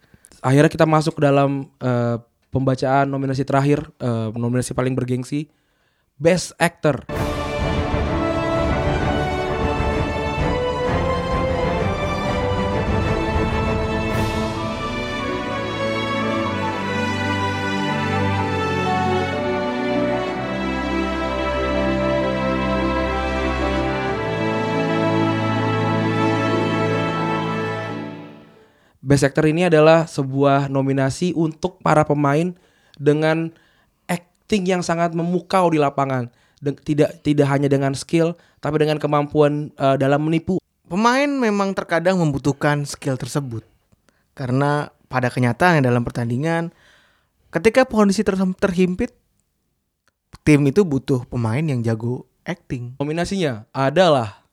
C: Akhirnya kita masuk ke dalam eh, pembacaan nominasi terakhir, eh, nominasi paling bergengsi, Best Actor. Best Actor ini adalah sebuah nominasi untuk para pemain dengan acting yang sangat memukau di lapangan. Den- tidak tidak hanya dengan skill, tapi dengan kemampuan eh, dalam menipu.
B: Pemain memang terkadang membutuhkan skill tersebut karena pada kenyataannya dalam pertandingan ketika kondisi ter- terhimpit tim itu butuh pemain yang jago acting.
C: Nominasinya adalah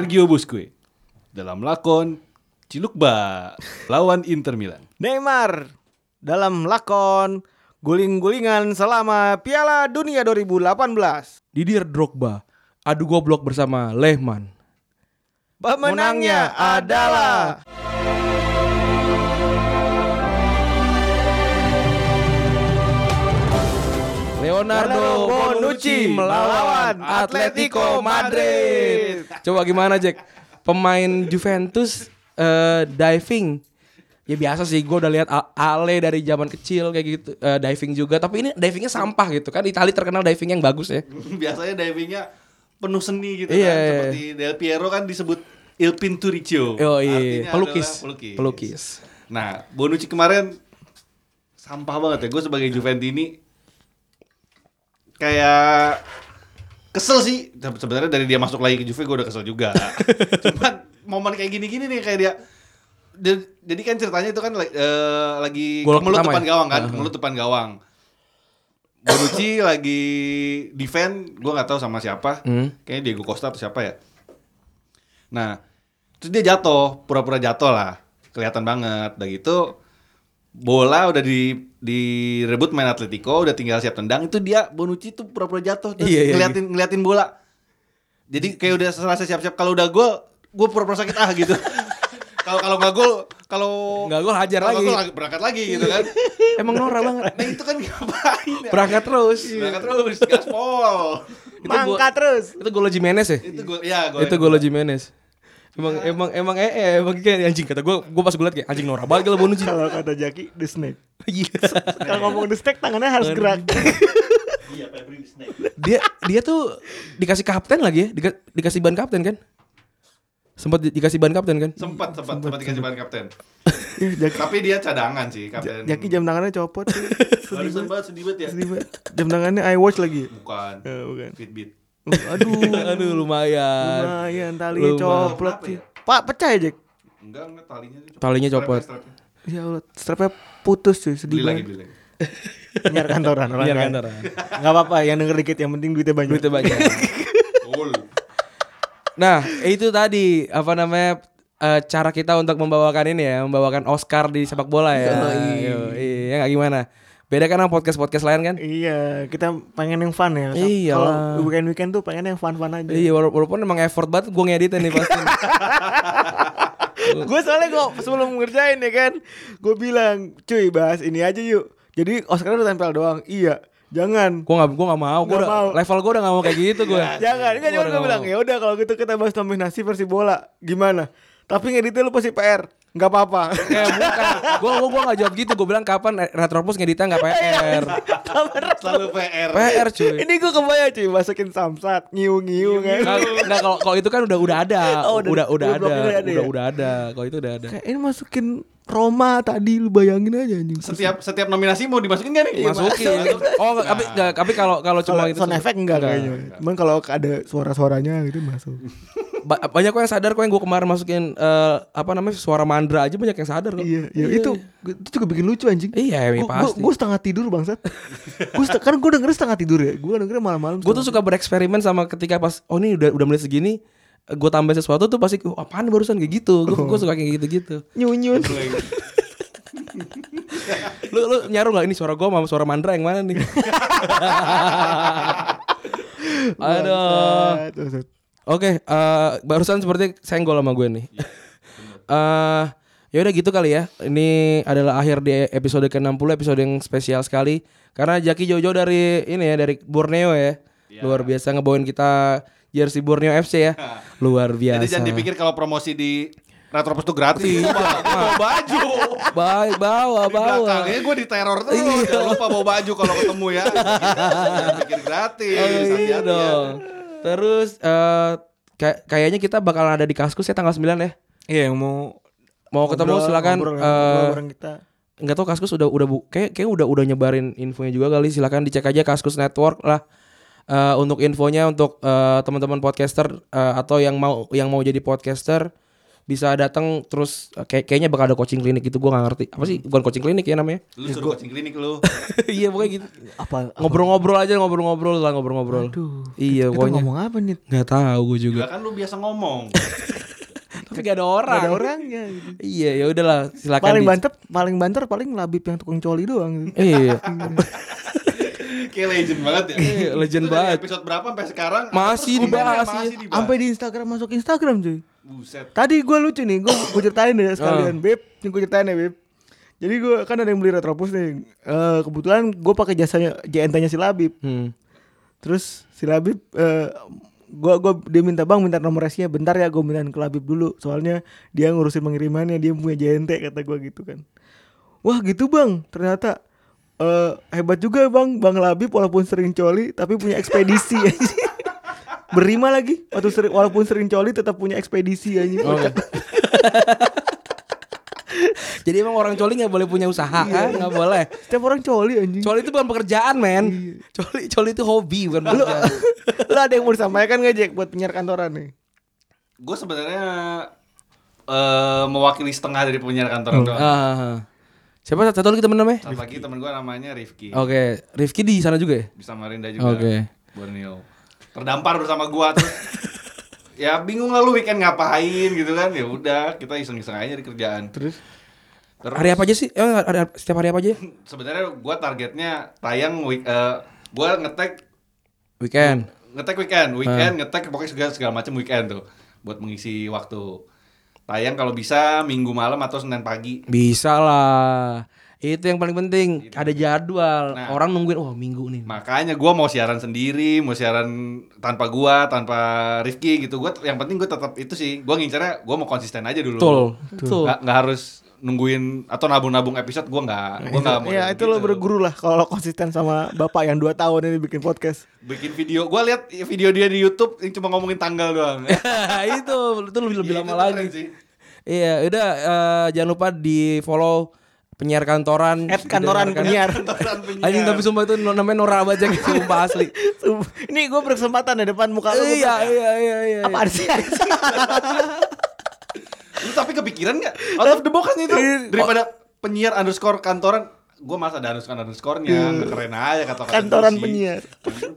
D: Sergio Busquets dalam lakon Cilukba lawan Inter Milan.
B: Neymar dalam lakon guling-gulingan selama Piala Dunia 2018.
C: Didier Drogba adu goblok bersama Lehman.
B: Pemenangnya adalah
C: Leonardo Bonucci melawan Atletico Madrid. Coba gimana Jack? Pemain Juventus eh, diving. Ya biasa sih, gue udah lihat A- Ale dari zaman kecil kayak gitu eh, diving juga. Tapi ini divingnya sampah gitu kan. Italia terkenal diving yang bagus ya.
D: Biasanya divingnya penuh seni gitu
C: Iya,
D: kan.
C: iya.
D: Seperti Del Piero kan disebut Il Pinturicchio.
C: Oh
D: Artinya
C: iya,
D: adalah
C: pelukis.
D: pelukis.
C: Pelukis.
D: Nah, Bonucci kemarin sampah banget ya. Gue sebagai Juventini kayak kesel sih. Seb- Sebenarnya dari dia masuk lagi ke Juve gue udah kesel juga. Cuman momen kayak gini-gini nih kayak dia dia- jadi kan ceritanya itu kan like, eh, lagi
C: Gol
D: kemelut
C: pertama
D: depan
C: ya?
D: gawang kan,
C: Uh-huh.
D: kemelut depan gawang. Bonucci lagi defend, gue nggak tahu sama siapa.
C: Hmm.
D: Kayaknya Diego Costa atau siapa ya. Nah, terus dia jatuh, pura-pura jatuh lah. Kelihatan banget. Dan gitu bola udah di direbut main Atletico, udah tinggal siap tendang. Itu dia Bonucci tuh pura-pura jatuh terus
C: Iya, iya,
D: ngeliatin ngeliatin bola. Jadi kayak udah selesai siap-siap kalau udah gol, gue pura-pura sakit ah gitu. Kalau kalau nggak gol, kalau
C: Nggak gol, hajar
D: kalau
C: lagi.
D: nggak gol, berangkat lagi gitu kan.
C: Emang Nora banget.
D: Nah, itu kan ngapain ya?
C: Berangkat terus.
D: Berangkat terus, gaspol.
C: Itu gua-
B: Mangkat terus.
C: Itu gol Jimenez ya?
D: itu gol ya gol.
C: itu gol Jimenez. Emang emang emang eh, eh emang kayak anjing kata gue gue pas gue liat kayak anjing Nora banget lah Bonucci.
B: Kalau kata Jaki the snake.
C: Gila.
B: Kalau ngomong the snake tangannya harus gerak.
C: dia dia tuh dikasih kapten lagi ya Dika- dikasih ban kapten kan sempat di- dikasih ban kapten kan
D: sempat sempat sempat dikasih bahan kapten.
B: Ih, Jaki,
D: Tapi dia cadangan sih kapten.
B: Jaki jam tangannya copot. sih.
D: Barusan banget sedih banget ya.
B: Sedih banget. Jam tangannya I watch lagi.
D: Bukan.
C: Ya,
B: Eh, bukan.
D: Fitbit.
B: Aduh,
C: aduh lumayan
B: lumayan talinya
C: Lumayan.
B: copot.
D: Kenapa
B: sih.
D: ya?
B: Pak pecah ya Jack.
D: Enggak, enggak talinya aja copot.
C: Talinya copot.
D: Strapnya, strapnya.
B: Ya Allah, strapnya putus cuy,
D: Beli
B: sedih
D: lagi,
B: banget.
D: beli lagi.
B: Biar kantoran, orang
C: Biar
B: kan.
C: kantoran.
B: Nggak apa-apa, yang denger dikit yang penting duitnya banyak.
C: duitnya banyak
D: Cool.
C: nah itu tadi apa namanya eh, cara kita untuk membawakan ini ya membawakan Oscar di sepak bola ya iya nggak gimana beda kan sama podcast podcast lain kan
B: Iya, kita pengen yang fun ya.
C: Iya lah.
B: Kalau weekend-weekend tuh pengen yang fun-fun aja.
C: iya wala- walaupun emang effort banget gue ngedit nih pasti
B: gue soalnya kok sebelum ngerjain ya kan gue bilang cuy bahas ini aja yuk jadi Oscar udah tempel doang iya jangan
C: gue nggak gue nggak mau gue
B: Nggak
C: udah
B: mau.
C: level gue udah nggak mau kayak gitu gue
B: jangan kan cuma gue bilang ya udah kalau gitu kita bahas nominasi versi bola gimana tapi ngeditnya lu pasti PR nggak apa-apa
C: Eh bukan, gue gue gue nggak jawab gitu. Gue bilang kapan Retropus ngeditnya
B: Iya,
C: nggak PR,
B: Kabar
D: Selalu PR.
C: PR cuy.
B: ini gue kebayang cuy masukin samsat ngiu-ngiu
C: Nggak,
B: kan
C: nggak, kalau kalau itu kan udah udah ada,
B: Oh,
C: udah
B: udah-
C: udah,
B: udah
C: ada,
B: bloknya udah
C: udah
B: ada ya?
C: udah ada. Kalau itu udah ada.
B: Kayak ini masukin Roma tadi lu bayangin aja anjing
D: Setiap setiap nominasi mau dimasukin gak
C: Iya,
D: nih?
C: Masukin.
B: iya,
C: Oh, nggak, tapi nggak,
B: Nah.
C: tapi kalau kalau cuma
B: kalau
C: itu
B: sound effect enggak kayaknya cuman kalau ada suara-suaranya gitu masuk
C: Ba- banyak kok yang sadar kok yang gue kemarin masukin eh, apa namanya suara mandra aja banyak yang sadar kok.
B: Iya, iya, itu itu juga bikin lucu anjing.
C: Iya, ya, pasti.
B: Gue setengah tidur bangsat. gue kan gue denger setengah tidur ya. Gue dengernya malam-malam.
C: Gue tuh suka bereksperimen sama ketika pas oh ini udah udah mulai segini gue tambah sesuatu tuh pasti oh, apaan barusan kayak gitu gue gue suka kayak gitu gitu
B: nyunyun.
C: lu lu nyaru nggak ini suara gue sama suara mandra yang mana nih aduh
B: Bangsat, bangsat.
C: Oke, eh, barusan seperti senggol sama gue nih.
D: Iya,
C: Eh, ya udah gitu kali ya. Ini adalah akhir di episode ke-60, episode yang spesial sekali karena Jaki Jojo dari ini ya dari Borneo ya.
D: Iya.
C: Luar biasa ngebawain kita jersey Borneo FC ya. Luar biasa.
D: Jadi jangan dipikir kalau promosi di Retropus tuh gratis. Bawa baju.
C: Baik, Iya. bawa,
D: Di Iya,
C: bawa. Iya,
D: belakangnya gue diteror terus. Jangan lupa bawa baju kalau ketemu ya. Jangan pikir gratis.
C: Oh, iya
D: Hati-hati ya.
C: dong. Terus eh, kay- kayaknya kita bakalan ada di Kaskus ya tanggal 9 ya.
B: Iya yang mau
C: Mau ketemu
B: ngobrol-
C: silakan
B: ngobrol-
C: eh,
B: ngobrol bareng kita.
C: nggak tahu Kaskus udah udah bu kayak kayak udah udah nyebarin infonya juga kali silakan dicek aja Kaskus Network lah Eh, untuk infonya untuk eh, teman-teman podcaster eh, atau yang mau yang mau jadi podcaster bisa datang terus eh, kayak kayaknya bakal ada coaching klinik gitu gua nggak ngerti apa sih bukan coaching klinik ya namanya
D: Lu suruh coaching klinik lu.
C: iya pokoknya gitu
B: Apa?
C: ngobrol-ngobrol aja ngobrol-ngobrol lah ngobrol-ngobrol iya
B: Kita
C: pokoknya
B: ngomong apa nih?
C: nggak tahu gue juga
D: Gak kan lu biasa ngomong.
C: tapi gak ada orang
B: Ada orangnya. gitu.
C: iya ya udahlah silakan
B: Paling
C: di-
B: banter, paling banter, paling labib yang tukang coli doang. gitu.
C: iya
D: Kayak legend banget ya.
C: Iya, legend
D: Itu dari
C: banget.
D: Episode berapa sampai sekarang?
C: Masih
D: terus komennya
C: dibahas,
D: Masih
C: iya.
D: dibahas.
B: Sampai di Instagram masuk Instagram cuy.
D: Buset.
B: Tadi gue lucu nih, gue gue ceritain
C: Ah.
B: deh sekalian, Beb. Ini gue ceritain ya, Beb. Jadi gue kan ada yang beli Retropus nih. Eh, kebetulan gue pakai jasanya JNT-nya si Labib.
C: Hmm.
B: Terus si Labib eh, gua gua dia minta bang minta nomor resnya bentar ya gue mintain ke Labib dulu soalnya dia ngurusin pengirimannya dia punya JNT kata gua gitu kan. Wah gitu bang ternyata eh, hebat juga bang bang Labib walaupun sering coli tapi punya ekspedisi Berima lagi waktu sering, walaupun sering coli tetap punya ekspedisi aja.
D: Oh.
C: jadi emang orang coli nggak boleh punya usaha kan
B: Iya.
C: nggak boleh
B: Setiap orang coli anjing.
C: coli itu bukan pekerjaan
D: Iya.
C: men coli coli itu hobi bukan
B: Lu,
C: pekerjaan
B: lu ada yang mau disampaikan gak Jack buat penyiar kantoran nih?
D: Gue sebenarnya eh, mewakili setengah dari penyiar kantor doang.
C: Ah. siapa satu lagi temen namanya
D: Satu lagi temen gue namanya Rifki.
C: oke Rifki di sana juga ya
D: Bisa Marinda juga.
C: Oh. Oke.
D: Borneo. Terdampar bersama gua terus. ya bingung lalu weekend ngapain gitu kan. Ya udah, kita iseng-iseng aja di kerjaan. Terus Terus
C: hari apa aja sih eh, hari, hari- setiap hari apa aja
D: sebenarnya gua targetnya tayang week eh, gua ngetek
C: weekend
D: ngetek weekend, weekend
C: Hmm.
D: ngetek pokoknya segala, segala macam weekend tuh buat mengisi waktu. Tayang kalau bisa minggu malam atau Senin pagi.
C: bisa lah itu yang paling penting ada jadwal
D: Nah.
C: orang nungguin wah minggu nih
D: Makanya gua mau siaran sendiri, mau siaran tanpa gua, tanpa Rifki gitu. Gua yang penting gua tetap itu sih. Gua ngincernya gua mau konsisten aja dulu.
C: betul betul
D: nggak nggak harus nungguin atau nabung-nabung episode gue nggak gue nggak mau
B: Ya
D: yang
B: itu lo
D: gitu.
B: berguru lah kalau lo konsisten sama bapak yang 2 tahun ini bikin podcast.
D: bikin video gue lihat video dia di YouTube yang cuma ngomongin tanggal doang
C: itu itu lebih lebih
D: Iya,
C: lama
D: itu keren
C: lagi
D: sih.
C: iya udah eh, jangan lupa di follow penyiar kantoran
B: At kantoran penyiar.
C: Anjing tapi sumpah itu no- namanya Nora Bajang sumpah asli.
B: Ini gue berkesempatan ya depan muka lo.
C: iya, iya, iya, iya.
B: Apa sih?
D: lu tapi kepikiran nggak out of the box kan itu daripada penyiar underscore kantoran gue masa ada underscore underscorenya
C: Iya.
D: nggak keren aja kata
B: Kantoran penyiar.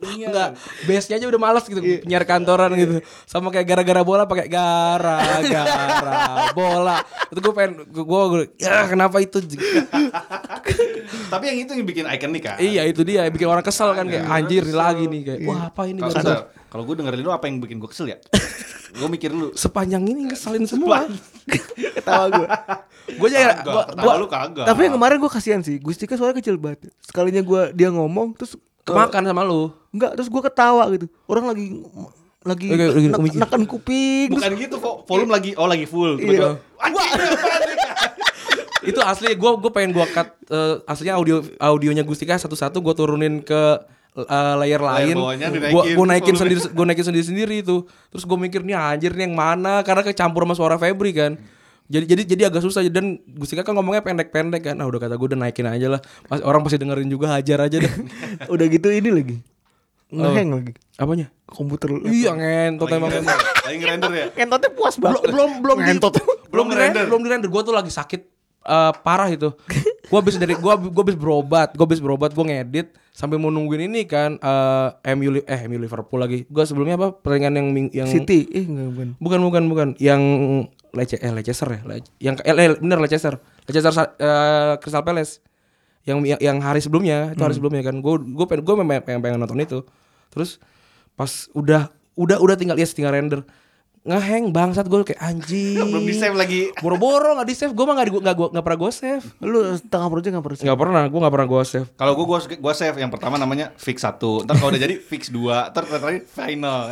C: Enggak, base-nya aja udah malas gitu penyiar kantoran gitu. Sama kayak gara-gara bola pakai gara-gara bola. Itu gue pengen gue gue ya kenapa itu?
D: tapi yang itu yang bikin ikonik kan
C: iya, itu dia bikin orang kesel kan kayak anjir nih lagi nih kayak wah apa ini
D: Kalau-
C: gara-gara
D: bentar, kalau gue dengerin lu apa yang bikin gue kesel ya gue mikir lu
C: sepanjang ini ngeselin semua.
B: Ketawa gue. Iya,
C: gue aja
D: kagak
C: gua,
D: ketawa
C: gua
D: lu kagak
B: Tapi yang kemarin gue kasihan sih. Gustika soalnya kecil banget. Sekalinya gue dia ngomong terus
C: kemakan sama lu.
B: enggak terus gue ketawa gitu. Orang lagi lagi
C: Oke, lagi
B: nek-
C: ngomongin.
B: nekan kuping.
D: bukan gitu vo- volume lagi oh lagi
B: Iya.
D: full tiba-tiba anjing, apaan nih?
C: itu asli gue gue pengen gue cut eh, aslinya audio audionya Gustika satu-satu gue turunin ke eh, layer lain
D: bawahnya dinaikin. gitu.
C: gue gue naikin sendiri gue naikin sendiri sendiri itu terus gue mikir nih anjir nih yang mana karena kecampur sama suara Febri kan jadi jadi jadi agak susah dan Gustika kan ngomongnya pendek-pendek kan nah udah kata gue udah naikin aja lah Pas, orang pasti dengerin juga hajar aja deh
B: terus. Udah gitu ini lagi.
C: Oh.
B: Ngeheng lagi.
C: apanya
B: Komputer lu.
C: iya ngentot
D: lagi
C: emang
D: ngerender lagi ngerender ya
B: Kentotnya puas banget.
C: belum belum di-
B: Ngentot.
C: belum di
D: Ngerender.
C: belum di render gue tuh lagi sakit eh, parah itu gue habis dari gue gue habis berobat gue habis berobat gue ngedit sampai mau nungguin ini kan eh MU Li- eh MU Liverpool lagi gue sebelumnya apa pertandingan yang ming- yang
B: City. Eh enggak bukan.
C: bukan bukan bukan yang Lece eh Leicester ya Le- yang eh, Le- bener Leicester Leicester sa- eh, Crystal Palace yang, yang yang hari sebelumnya itu
D: Hmm.
C: hari sebelumnya kan gue gue pengen gue pengen, pengen nonton itu terus pas udah udah udah tinggal yes tinggal render ngeheng bangsat gue kayak anjing
D: Belum di-save lagi.
C: boro-boro nggak di save gue mah nggak di- nggak gua- nggak pernah gue save
B: Lu setengah project nggak pernah.
C: nggak pernah gue nggak pernah gue save
D: Kalau gue gua gua save yang pertama namanya fix satu, ntar kalau udah jadi fix dua, ntar terakhir final.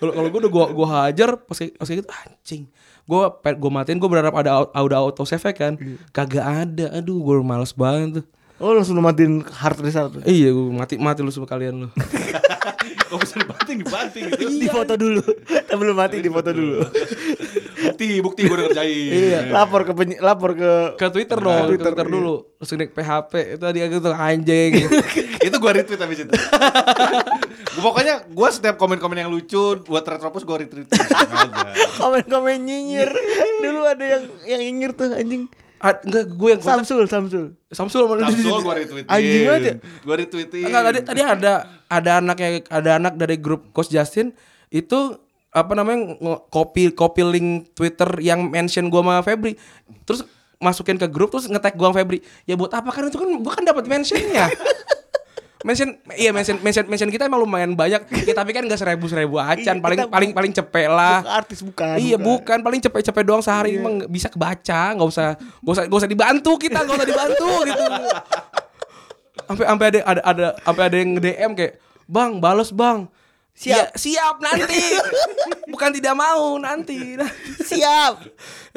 C: kalau kalau gue udah gue gue hajar pas kayak pas kayak gitu anjing gue gue matiin gue berharap ada au- ada auto save kan kagak ada aduh gue males banget tuh
B: Oh langsung lu matiin hard reset. tuh.
C: iya gue mati mati lu semua kalian lu
D: Kok bisa dibanting dibanting gitu?
B: Di foto dulu. Sebelum mati di foto dulu.
D: Bukti bukti gue udah ngerjain.
B: Iya. Lapor ke penyi- lapor ke
C: ke Twitter dong, Nah, Iya. ke Twitter dulu. Terus klik PHP, itu tadi aku tuh anjing.
D: itu gue retweet habis itu. Gua- pokoknya gue setiap komen-komen yang lucu buat retropus gue retweet. Sengaja.
B: komen-komen nyinyir. Dulu ada yang yang nyinyir tuh anjing.
C: Ah, enggak gue yang kontak-
B: Samsul, Samsul.
C: Samsul mana
D: Samsul gue retweetin.
B: Anjing banget ya.
D: Gue retweetin.
C: Enggak tadi tadi ada ada anaknya ada anak dari grup Coach Justin itu apa namanya nge- copy copy link Twitter yang mention gua sama Febri. Terus masukin ke grup terus nge-tag gua sama Febri. Ya buat apa kan itu kan gua kan dapat mentionnya. mention iya mention mention mention kita emang lumayan banyak ya, tapi kan nggak seribu seribu acan
B: Iya,
C: paling
B: kita-
C: paling paling cepet lah
B: Bukan artis, Iya. bukan,
C: iya bukan,
B: bukan.
C: paling cepet-cepet doang sehari emang nggak bisa kebaca nggak usah nggak usah nggak usah dibantu kita nggak usah dibantu gitu sampai sampai ada ada ada sampai ada yang DM kayak bang balas bang siap siap nanti bukan tidak mau nanti
B: Siap.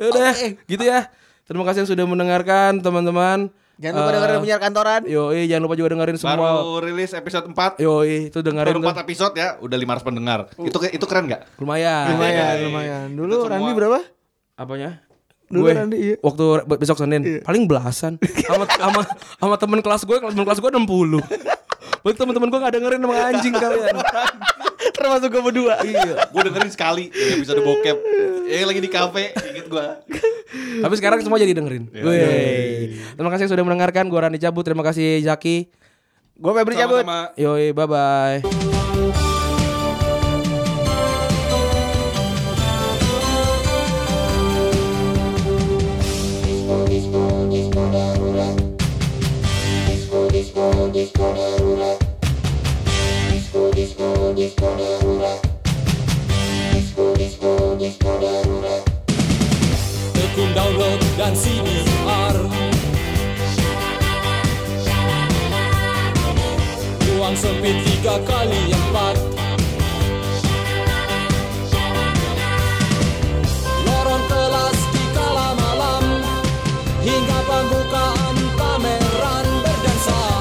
C: udah
B: Oke.
C: gitu ya terima kasih yang sudah mendengarkan teman-teman Eh,
B: Jangan lupa dengerin penyiar kantoran.
C: Yoi, jangan lupa juga dengerin semua.
D: Baru rilis episode 4
C: Yoi, itu dengerin
D: Baru
C: tuh.
D: 4 episode ya, udah 500 pendengar. Itu itu keren gak?
C: Lumayan.
B: Lumayan, lumayan. Dulu
D: Itu semua.
B: Randy berapa?
C: Apanya?
B: Dulu
C: gue
B: Randi, iya.
C: waktu be- besok Senin paling belasan sama sama sama temen kelas gue temen kelas gue 60 Berarti temen-temen gue gak dengerin sama anjing kalian
B: Termasuk gue berdua. Iya.
D: Gue dengerin sekali dari episode bokep. Eh lagi di kafe, inget gue.
C: Tapi sekarang semua jadi dengerin Wey. Terima kasih sudah mendengarkan Gue Rani Cabut Terima kasih Zaki
B: Gue Febri cabut.
D: Sama-sama.
C: Yoi bye-bye
G: Tekun download dan CDR Ruang sempit tiga kali empat Lorong kelas di kala malam Hingga pembukaan pameran berdansa